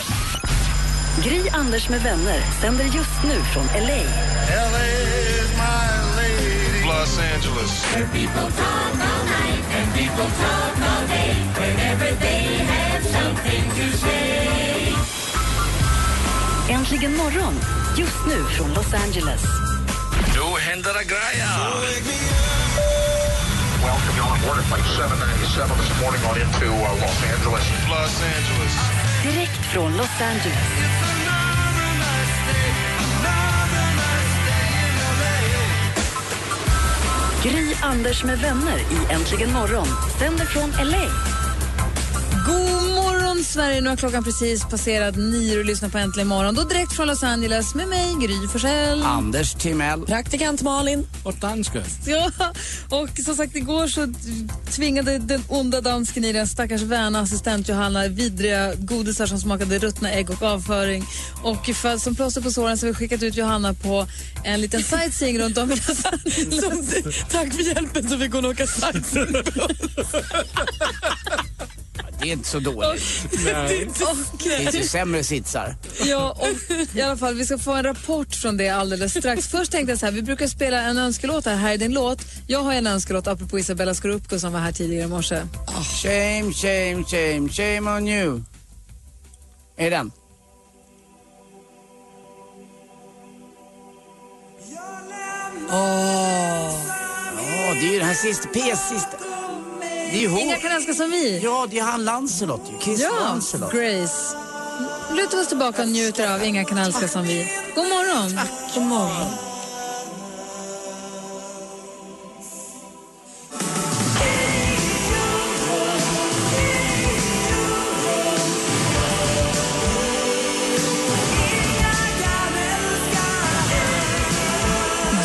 Gry Anders med vänner sänder just nu från LA.
LA is my lady. Los Angeles. Where people talk all night and people talk all day. Whenever they have something to say.
Äntligen morgon
Just nu från Los Angeles.
Nu händer det grejer! Welcome you on board at flight 797 this morning on into uh, Los Angeles. Los Angeles.
Direkt från Los Angeles. Gry Anders med vänner i Äntligen morgon sänder från LA.
God morgon, Sverige! Nu har klockan precis passerat nio och lyssnar på Äntligen morgon. Då direkt från Los Angeles med mig, Gry Forssell.
Anders Timell.
Praktikant Malin.
Och danska.
Ja, och som sagt igår så tvingade den onda dansken i den stackars väna assistent Johanna vidriga godisar som smakade ruttna ägg och avföring. Och för, som plåster på såren så har vi skickat ut Johanna på en liten sightseeing runt om i Los Angeles.
Tack för hjälpen så fick hon åka sightseeing.
Det är inte så dåligt. Det finns ju sämre sitsar.
Ja, och i alla fall, vi ska få en rapport från det alldeles strax. Först tänkte jag så här, vi brukar spela en önskelåt här, här är din låt. Jag har en önskelåt apropå Isabella Scorupco som var här tidigare i morse.
Shame, shame, shame, shame on you. Är det den? Åh, det är ju den här sista, PS sista. Det är ju hon.
Inga kan älska som vi.
Ja, det är han Lancelot ju. Kiss
ja,
Lancelot.
Grace. Luta oss tillbaka och njuter av Inga kan älska som vi. God morgon. God morgon.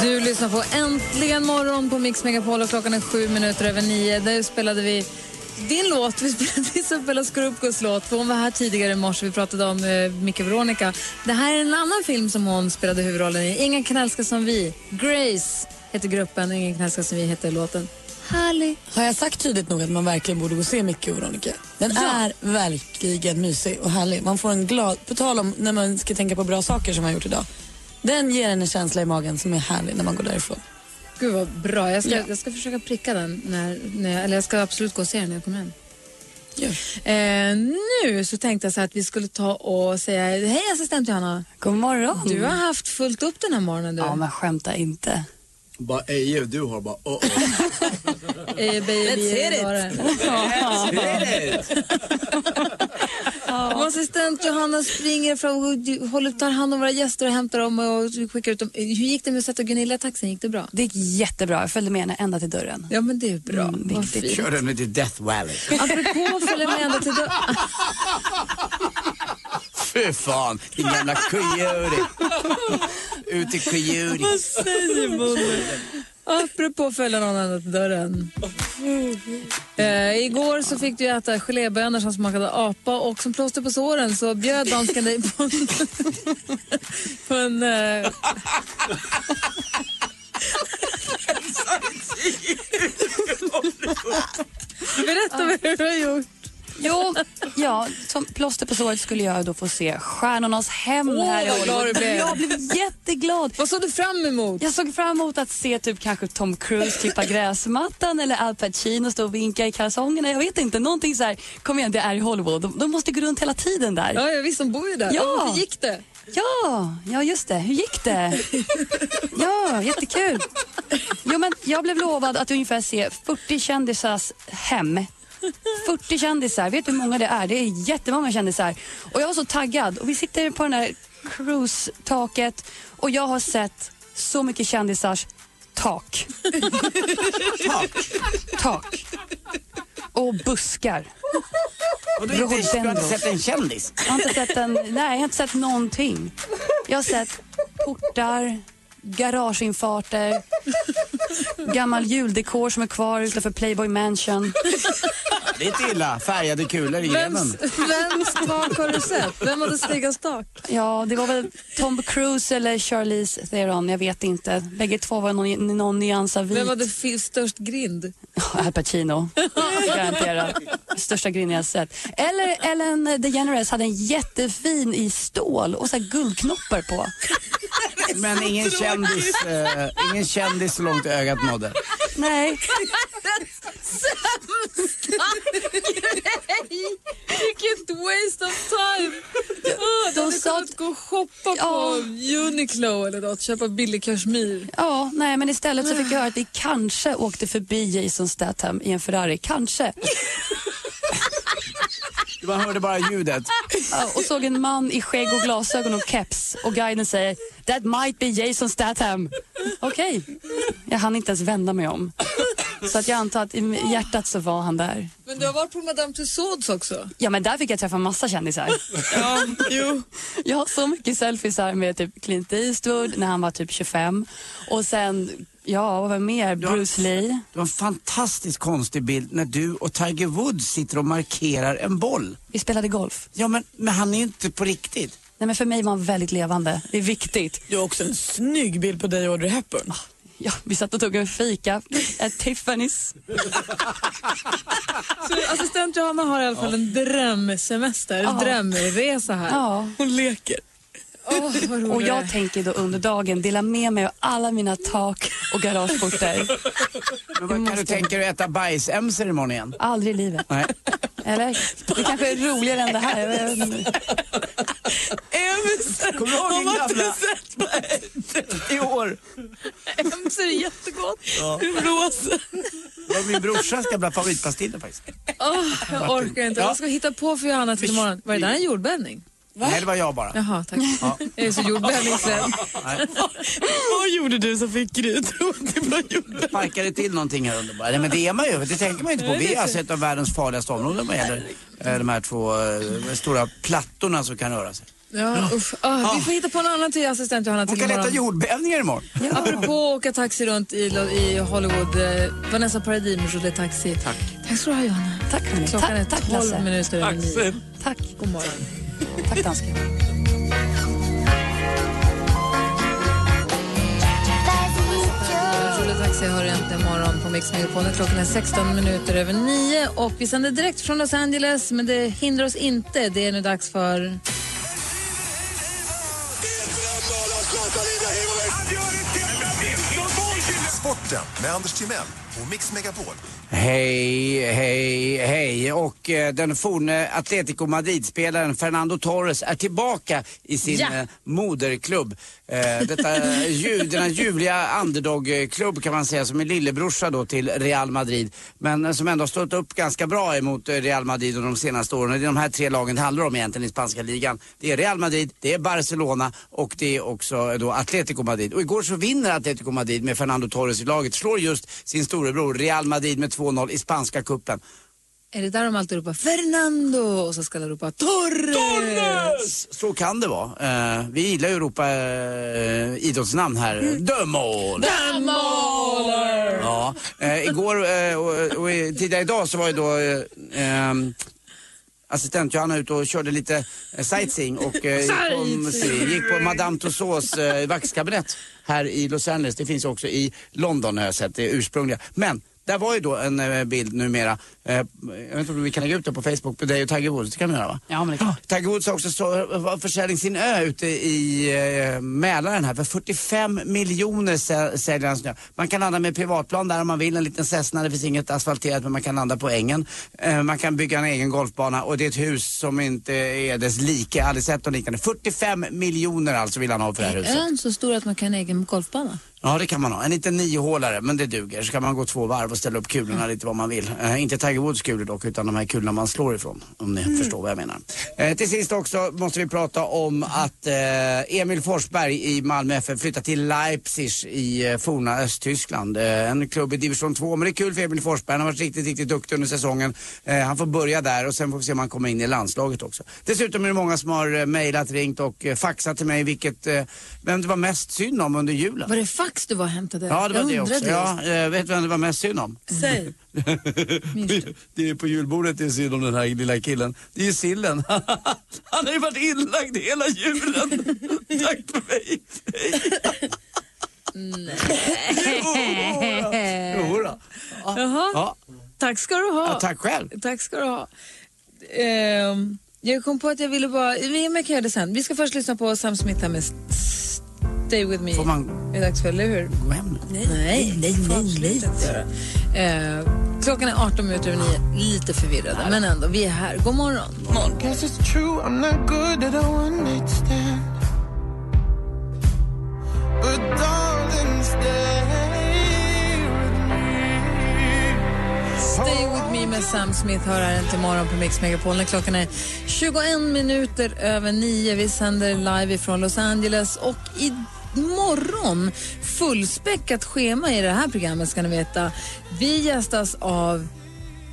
Du lyssnar på Äntligen morgon på Mix Megapol och klockan är sju minuter över nio. Där spelade vi din låt, vi spelade Isabella Scorupcos låt. för Hon var här tidigare i morse, vi pratade om eh, Micke Veronica. Det här är en annan film som hon spelade huvudrollen i. Ingen kan älska som vi. Grace heter gruppen och Ingen kan älska som vi heter låten. Härlig.
Har jag sagt tydligt nog att man verkligen borde gå och se Micke och Veronica? Den är verkligen mysig och härlig. Man får en glad... På tal om när man ska tänka på bra saker som man har gjort idag. Den ger en en känsla i magen som är härlig när man går därifrån.
Gud vad bra. Jag ska,
Ja.
jag ska försöka pricka den. När, när, jag- eller jag ska absolut gå och se den när jag kommer hem. Eh, nu så tänkte jag så här att vi skulle ta och säga hej assistent Johanna.
God morgon.
Du har haft fullt upp den här morgonen du.
Ja, men skämta inte.
Bara EU, du har bara oh, oh.
Eh, baby,
Let's hear it.
bara-
Let's
hear it.
Vår assistent Johanna springer fram och håller, tar hand om våra gäster och hämtar dem och skickar ut dem. Hur gick det med att sätta Gunilla i taxin? Gick det bra?
Det gick jättebra. Jag följde med henne ända till dörren.
Ja, men det är bra.
Mm,
Vad fint.
Kör den till Death Valley.
Apropå följer med ända till dörren.
Fy fan, din jävla kujuri. Ut i kujuri.
Vad säger man? Apropå följa någon annan till dörren. Eh, igår så fick du äta gelébönor som smakade apa och som plåster på såren så bjöd dansken dig på en... på en eh, Berätta vad du har gjort.
Jo, ja, som plåster på såret skulle jag då få se Stjärnornas hämnd
Åh,
här i
vad glad du
Hollywood.
blev.
Jag blev jätteglad.
Vad såg du fram emot?
Jag såg fram emot att se typ kanske Tom Cruise klippa gräsmattan eller Al Pacino stå och vinka i kalsongerna. Jag vet inte, någonting så här, kom igen, det är i Hollywood. De, de måste gå runt hela tiden där.
Ja, jag visst, de bor ju där. Ja.
Ja.
Hur gick det?
Ja, ja just det. Hur gick det? Ja, jättekul. Jo, men jag blev lovad att ungefär se 40 kändisars hem. 40 kändisar, vet du hur många det är? Det är jättemånga kändisar. Och jag var så taggad och vi sitter på den här cruise-taket och jag har sett så mycket kändisars tak. tak? Tak. Och buskar.
Och du, har inte- du har inte
Rhododendros.
sett en kändis?
Jag har inte sett en, nej, jag har inte sett någonting. Jag har sett portar, garageinfarter, gammal juldekor som är kvar utanför Playboy Mansion.
Det är inte illa. Färgade kulor i
Vems-
Yemen.
Vems tak har du sett? Vem hade snyggast tak?
Ja, det var väl Tom Cruise eller Charlize Theron, jag vet inte. Bägge två var någon, någon nyans av vit.
Vem hade fi- störst grind?
Al Pacino, garanterat. Största grinnen jag har sett. Eller Ellen DeGeneres hade en jättefin i stål och så här guldknoppar på.
Men ingen kändis, eh, ingen kändis så långt ögat nådde.
Nej.
Sämsta grej! Vilket waste of time. Oh, de hade kunnat gå och shoppa på Uniqlo eller något, köpa billig kashmir. Ah.
Ja, nej, men istället så fick jag höra att vi kanske åkte förbi Jason Statham i en Ferrari. Kanske.
Man hörde bara ljudet.
Ja, och såg en man i skägg och glasögon och keps och guiden säger That might be Jason Statham. Okej. Jag hann inte ens vända mig om. Så att jag antar att i hjärtat så var han där.
Men du har varit på Madame Tussauds också.
Ja, men där fick jag träffa massa kändisar.
Ja, jo.
Jag har så mycket selfiesar med typ Clint Eastwood när han var typ 25 och sen, ja, vad var det mer? Bruce Lee.
Det var en fantastiskt konstig bild när du och Tiger Woods sitter och markerar en boll.
Vi spelade golf.
Ja, men, men han är ju inte på riktigt.
Nej, men för mig var han väldigt levande. Det är viktigt.
Du har också en snygg bild på dig och Audrey Hepburn.
Ja, vi satt och tog en fika, ett Tiffany's.
Så assistent Johanna har i alla fall en drömsemester, en drömresa här.
Ja.
Hon leker.
rolig
och
du är.
jag tänker då under dagen dela med mig av alla mina tak och garageportar.
Men vad, kan du tänka dig att äta bajsämser imorgon igen?
Aldrig i livet.
Nej.
Eller? Det kanske är roligare än det här. Jag vet inte.
Emser!
Kommer du ihåg
Har
din
man
gamla?
inte sett på ett-
i år?
Emser är jättegott.
Ja.
Rosa.
Det var min brorsas gamla favoritpastiller faktiskt.
Åh, jag orkar inte.
Ja.
Vad ska vi hitta på för Johanna till imorgon? Var det där en jordbävning?
Nej, det var jag bara.
Jaha, tack.
Ja.
Jag är så jordbävningsrädd.
Nej.
Vad gjorde du som fick grytont i blöjorna?
Sparkade till någonting här under bara. Nej, men det är man ju, det tänker man ju inte på. Vi har sett av världens farligaste områden vad gäller eh, de här två eh, stora plattorna som kan röra sig.
Ja, usch. Ah, vi får hitta på en annan till assistent Johanna
Hon
till
kan äta
imorgon.
jordbävningar imorgon.
Apropå att åka taxi runt i, Lo- i Hollywood. Eh, Vanessa Paradis med Jolie Taxi. Tack. Tack ska du ha, Johanna.
Tack, hörni.
Klockan är
Tack, tack,
12
Lasse.
minuter över
Tack,
nio.
Sim. Tack.
God morgon.
Tack dansken.
Jolie Taxi hör egentligen imorgon på Mix Megapolen. Klockan är 16 minuter över nio och vi sänder direkt från Los Angeles men det hindrar oss inte. Det är nu dags för...
Sporten med Anders Timell och Mix Megapol.
Hej, hej, hej. Och eh, den forne Atletico Madrid-spelaren Fernando Torres är tillbaka i sin
Ja.
eh, moderklubb. Eh, detta, ju, denna ljuvliga underdog-klubb kan man säga som är lillebrorsa då till Real Madrid. Men eh, som ändå har stått upp ganska bra emot eh, Real Madrid under de senaste åren. Och Det är de här tre lagen det handlar om egentligen i spanska ligan. Det är Real Madrid, det är Barcelona och det är också eh, då Atletico Madrid. Och igår så vinner Atletico Madrid med Fernando Torres i laget. Slår just sin storebror Real Madrid med 2-0 i spanska cupen.
Är det där de alltid ropar Fernando och så ska de ropa Torres?
Torres! Så kan det vara. Eh, vi gillar ju att ropa eh, idrottsnamn här. Dömål!
Dammhåller!
Ja, eh, igår eh, och, och i- tidigare idag så var ju då eh, ehm, assistent Johanna ute och körde lite eh, sightseeing och eh, gick, på museum, gick på Madame Tussauds eh, vaxkabinett här i Los Angeles. Det finns också i London har jag sett, det ursprungliga. Men där var ju då en eh, bild numera, eh, jag vet inte om vi kan lägga ut det på Facebook, på dig och Tiger Woods, det kan vi göra va?
Ja, men det kan.
Tiger Woods har också så, var försäljning sin ö ute i eh, Mälaren här för 45 miljoner sä- säljer han snö. Man kan landa med privatplan där om man vill, en liten Cessna, det finns inget asfalterat men man kan landa på ängen. Eh, man kan bygga en egen golfbana och det är ett hus som inte är dess like, jag har aldrig sett något liknande. 45 miljoner alltså vill han ha för det här huset.
Ön så stor att man kan ha egen golfbana.
Ja, det kan man ha. En liten niohålare, men det duger. Så kan man gå två varv och ställa upp kulorna lite vad man vill. Eh, inte Tiger Woods kulor dock, utan de här kulorna man slår ifrån. Om ni förstår vad jag menar. Eh, till sist också måste vi prata om att eh, Emil Forsberg i Malmö FF flyttar till Leipzig i eh, forna Östtyskland. Eh, en klubb i division 2, men det är kul för Emil Forsberg. Han har varit riktigt, riktigt duktig under säsongen. Eh, han får börja där och sen får vi se om han kommer in i landslaget också. Dessutom är det många som har eh, mejlat, ringt och eh, faxat till mig vilket, eh, vem det var mest synd om under julen.
Var det fax du var och hämtade?
Ja, det
Jag
var det
undrade
också.
just.
Ja, jag vet vem det var mest synd om?
Säg.
det är på julbordet det är synd om den här lilla killen. Det är ju sillen. Han har ju varit inlagd hela julen. Tack för mig.
Jodå.
Jaha.
Ja.
Tack ska du ha.
Ja, tack själv.
Tack ska du ha. Ehm, jag kom på att jag ville bara... Men jag kan göra det sen. Vi ska först lyssna på Sam Smith här med... s- s-
Stay with me.
Får man-
Det är dags för, eller hur?
Gå hem
Nej, nej, nej. nej, Eh, klockan är 18 minuter över 9. Lite förvirrade, men ändå. Vi är här. God morgon.
Guess it's true, I'm not good at a one night stand. But darling, stay with me.
Stay with me med Sam Smith hör här inte imorgon på Mix Megapol när klockan är 21 minuter över 9. Vi sänder live ifrån Los Angeles och imorgon fullspäckat schema i det här programmet ska ni veta. Vi gästas av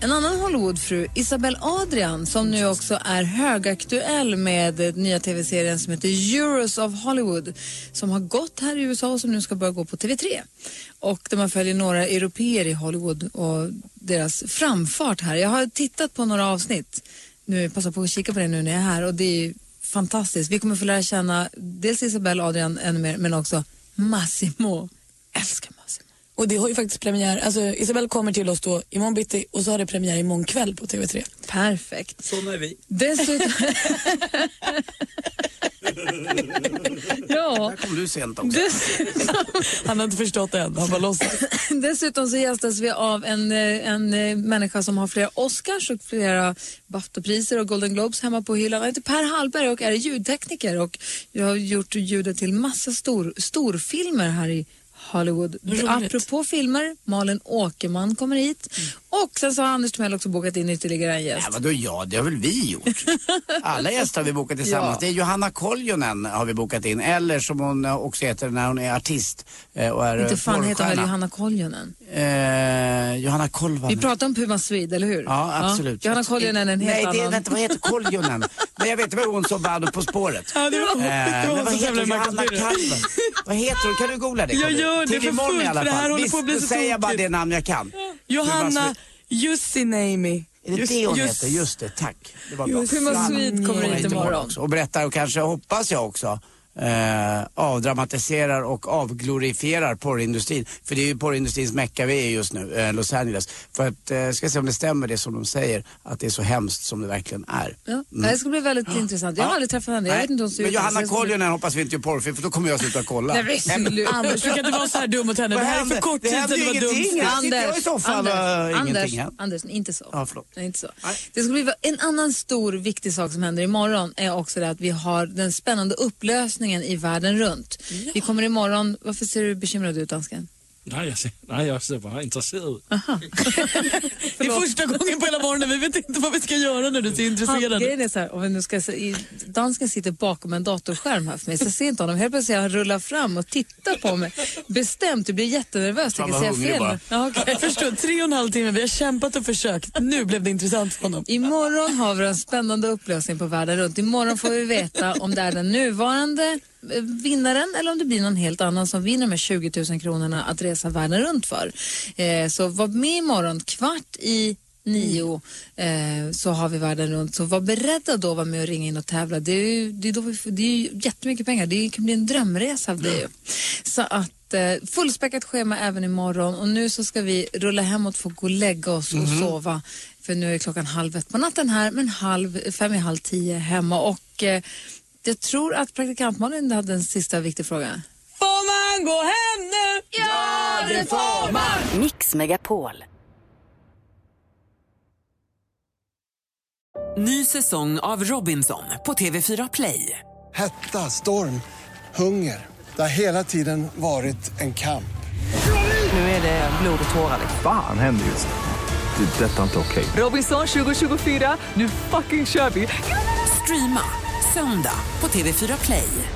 en annan Hollywoodfru, Isabel Adrian, som nu också är högaktuell med eh, nya tv-serien som heter Euros of Hollywood, som har gått här i USA och som nu ska börja gå på TV3. Och där man följer några europeer i Hollywood och deras framfart här. Jag har tittat på några avsnitt, nu passar på att kika på det nu när jag är här och det är ju fantastiskt. Vi kommer få lära känna dels Isabel Adrian ännu mer, men också Massimo. Älskar Massimo.
Och det har ju faktiskt premiär, alltså Isabel kommer till oss då imorgon bitti och så har det premiär imorgon kväll på TV3.
Perfekt.
Såna är vi.
Dessutom... ja.
Där kom du sent också.
Han har inte förstått det än, han bara låtsas.
Dessutom så gästas vi av en, eh, en eh, människa som har flera Oscars och flera Baftopriser och Golden Globes hemma på hyllan. Han heter Per Hallberg och är ljudtekniker och jag har gjort ljudet till massa stor, storfilmer här i Hollywood. Apropå filmer, Malin Åkerman kommer hit och sen så har Anders Timell också bokat in ytterligare en gäst.
Mm. Ja, vadå ja, det har väl vi gjort. Alla gäster har vi bokat tillsammans.
Ja.
Det är Johanna Koljonen har vi bokat in, eller som hon eh, också heter när hon är artist eh, och är eh,
Inte fan heter hon väl
porrstjärna.
Johanna Koljonen?
Eh, Johanna Kolvanen.
Vi pratar om Puma Swede, eller hur?
Ja, absolut.
Johanna Koljonen är en helt
Nej, det,
annan.
vänta, vad heter Koljonen? Nej, jag vet, det var hon som vann På spåret.
Ja, det var hon. Det var
Eh, men
hon
vad
som
heter hon?
tävlade
Johanna
i Marcus
Kalven? Vad heter hon? Kan du googla det?
Jag
Colin?
gör det
Till
för
imorgon
fullt,
i alla
för det här
fall.
håller på att bli
Visst,
så
då säger jag bara
tokigt.
det namn jag kan.
Johanna Jussinami.
Är det det hon heter? Just det, tack. Det var bra.
Just- Puma
Ja,
Swede kommer hit imorgon.
också Och berättar och kanske, hoppas jag också, eh, avdramatiserar och avglorifierar porrindustrin. För det är ju porrindustrins mecka vi är just nu, eh, Los Angeles. För att, eh, ska se om det stämmer det som de säger, att det är så hemskt som det verkligen är.
Ja. Det ska bli väldigt intressant. Jag har aldrig träffat henne. Jag
Mm. Nej,
vet inte hur hon ser
Men
ut.
Johanna Koljonen hoppas vi inte gör porrfilm för då kommer jag sluta kolla.
Nej, men sluta.
Anders, du kan inte vara så här dum mot henne.
Vad
Det här är
hände?
för kort tid
hände
sedan
ju
du var dum.
ingenting. Jag sitter jag i soffan och
Anders,
ingenting
Anders,
händer.
Anders, inte så.
Ja, förlåt.
Nej, inte så. Det ska bli en annan stor viktig sak som händer imorgon är också det att vi har den spännande upplösningen i världen runt. Vi kommer imorgon, varför ser du bekymrad ut dansken?
Nej, jeg ser, nej, jeg ser bare interesseret ud.
Det är första gången på hela morgonen. Vi vet inte vad vi ska göra när du ser
Han,
intresserad ut.
grejen är så här, om vi nu ska se, i, dansken sitter bakom en datorskärm här för mig så jag ser inte honom. Helt plötsligt ser jag han rullar fram och tittar på mig bestämt. Jag blir jättenervös,
Han
tänker
var
säga
hungrig
fel.
bara.
Ja, okej.
Jag förstår, tre och en halv timme. Vi har kämpat och försökt. Nu blev det intressant för honom.
Imorgon har vi en spännande upplösning på världen runt. Imorgon får vi veta om det är den nuvarande eh, vinnaren eller om det blir någon helt annan som vinner med 20 000 kronorna att resa världen runt för. Eh, så var med imorgon kvart i nio eh, så har vi världen runt. Så var beredda då att vara med och ringa in och tävla. Det är ju, det är då vi, får- det är ju jättemycket pengar. Det kan bli en drömresa av det ju. Så att eh, fullspäckat schema även imorgon och nu så ska vi rulla hemåt för att gå och lägga oss och
Mhm.
sova sova. För nu är klockan halv ett på natten här, men halv, fem i halv tio hemma. Och eh, jag tror att praktikantmannen hade en sista viktig fråga.
Får man gå hem nu? Ja, det får man!
Mix Megapol.
Ny säsong av Robinson på TV4 Play.
Hetta, storm, hunger. Det har hela tiden varit en kamp.
Nu är det blod och tårar.
Fan händer just det. Det är detta inte okej.
Robinson 2024, nu fucking kör vi! Streama söndag på TV4 Play.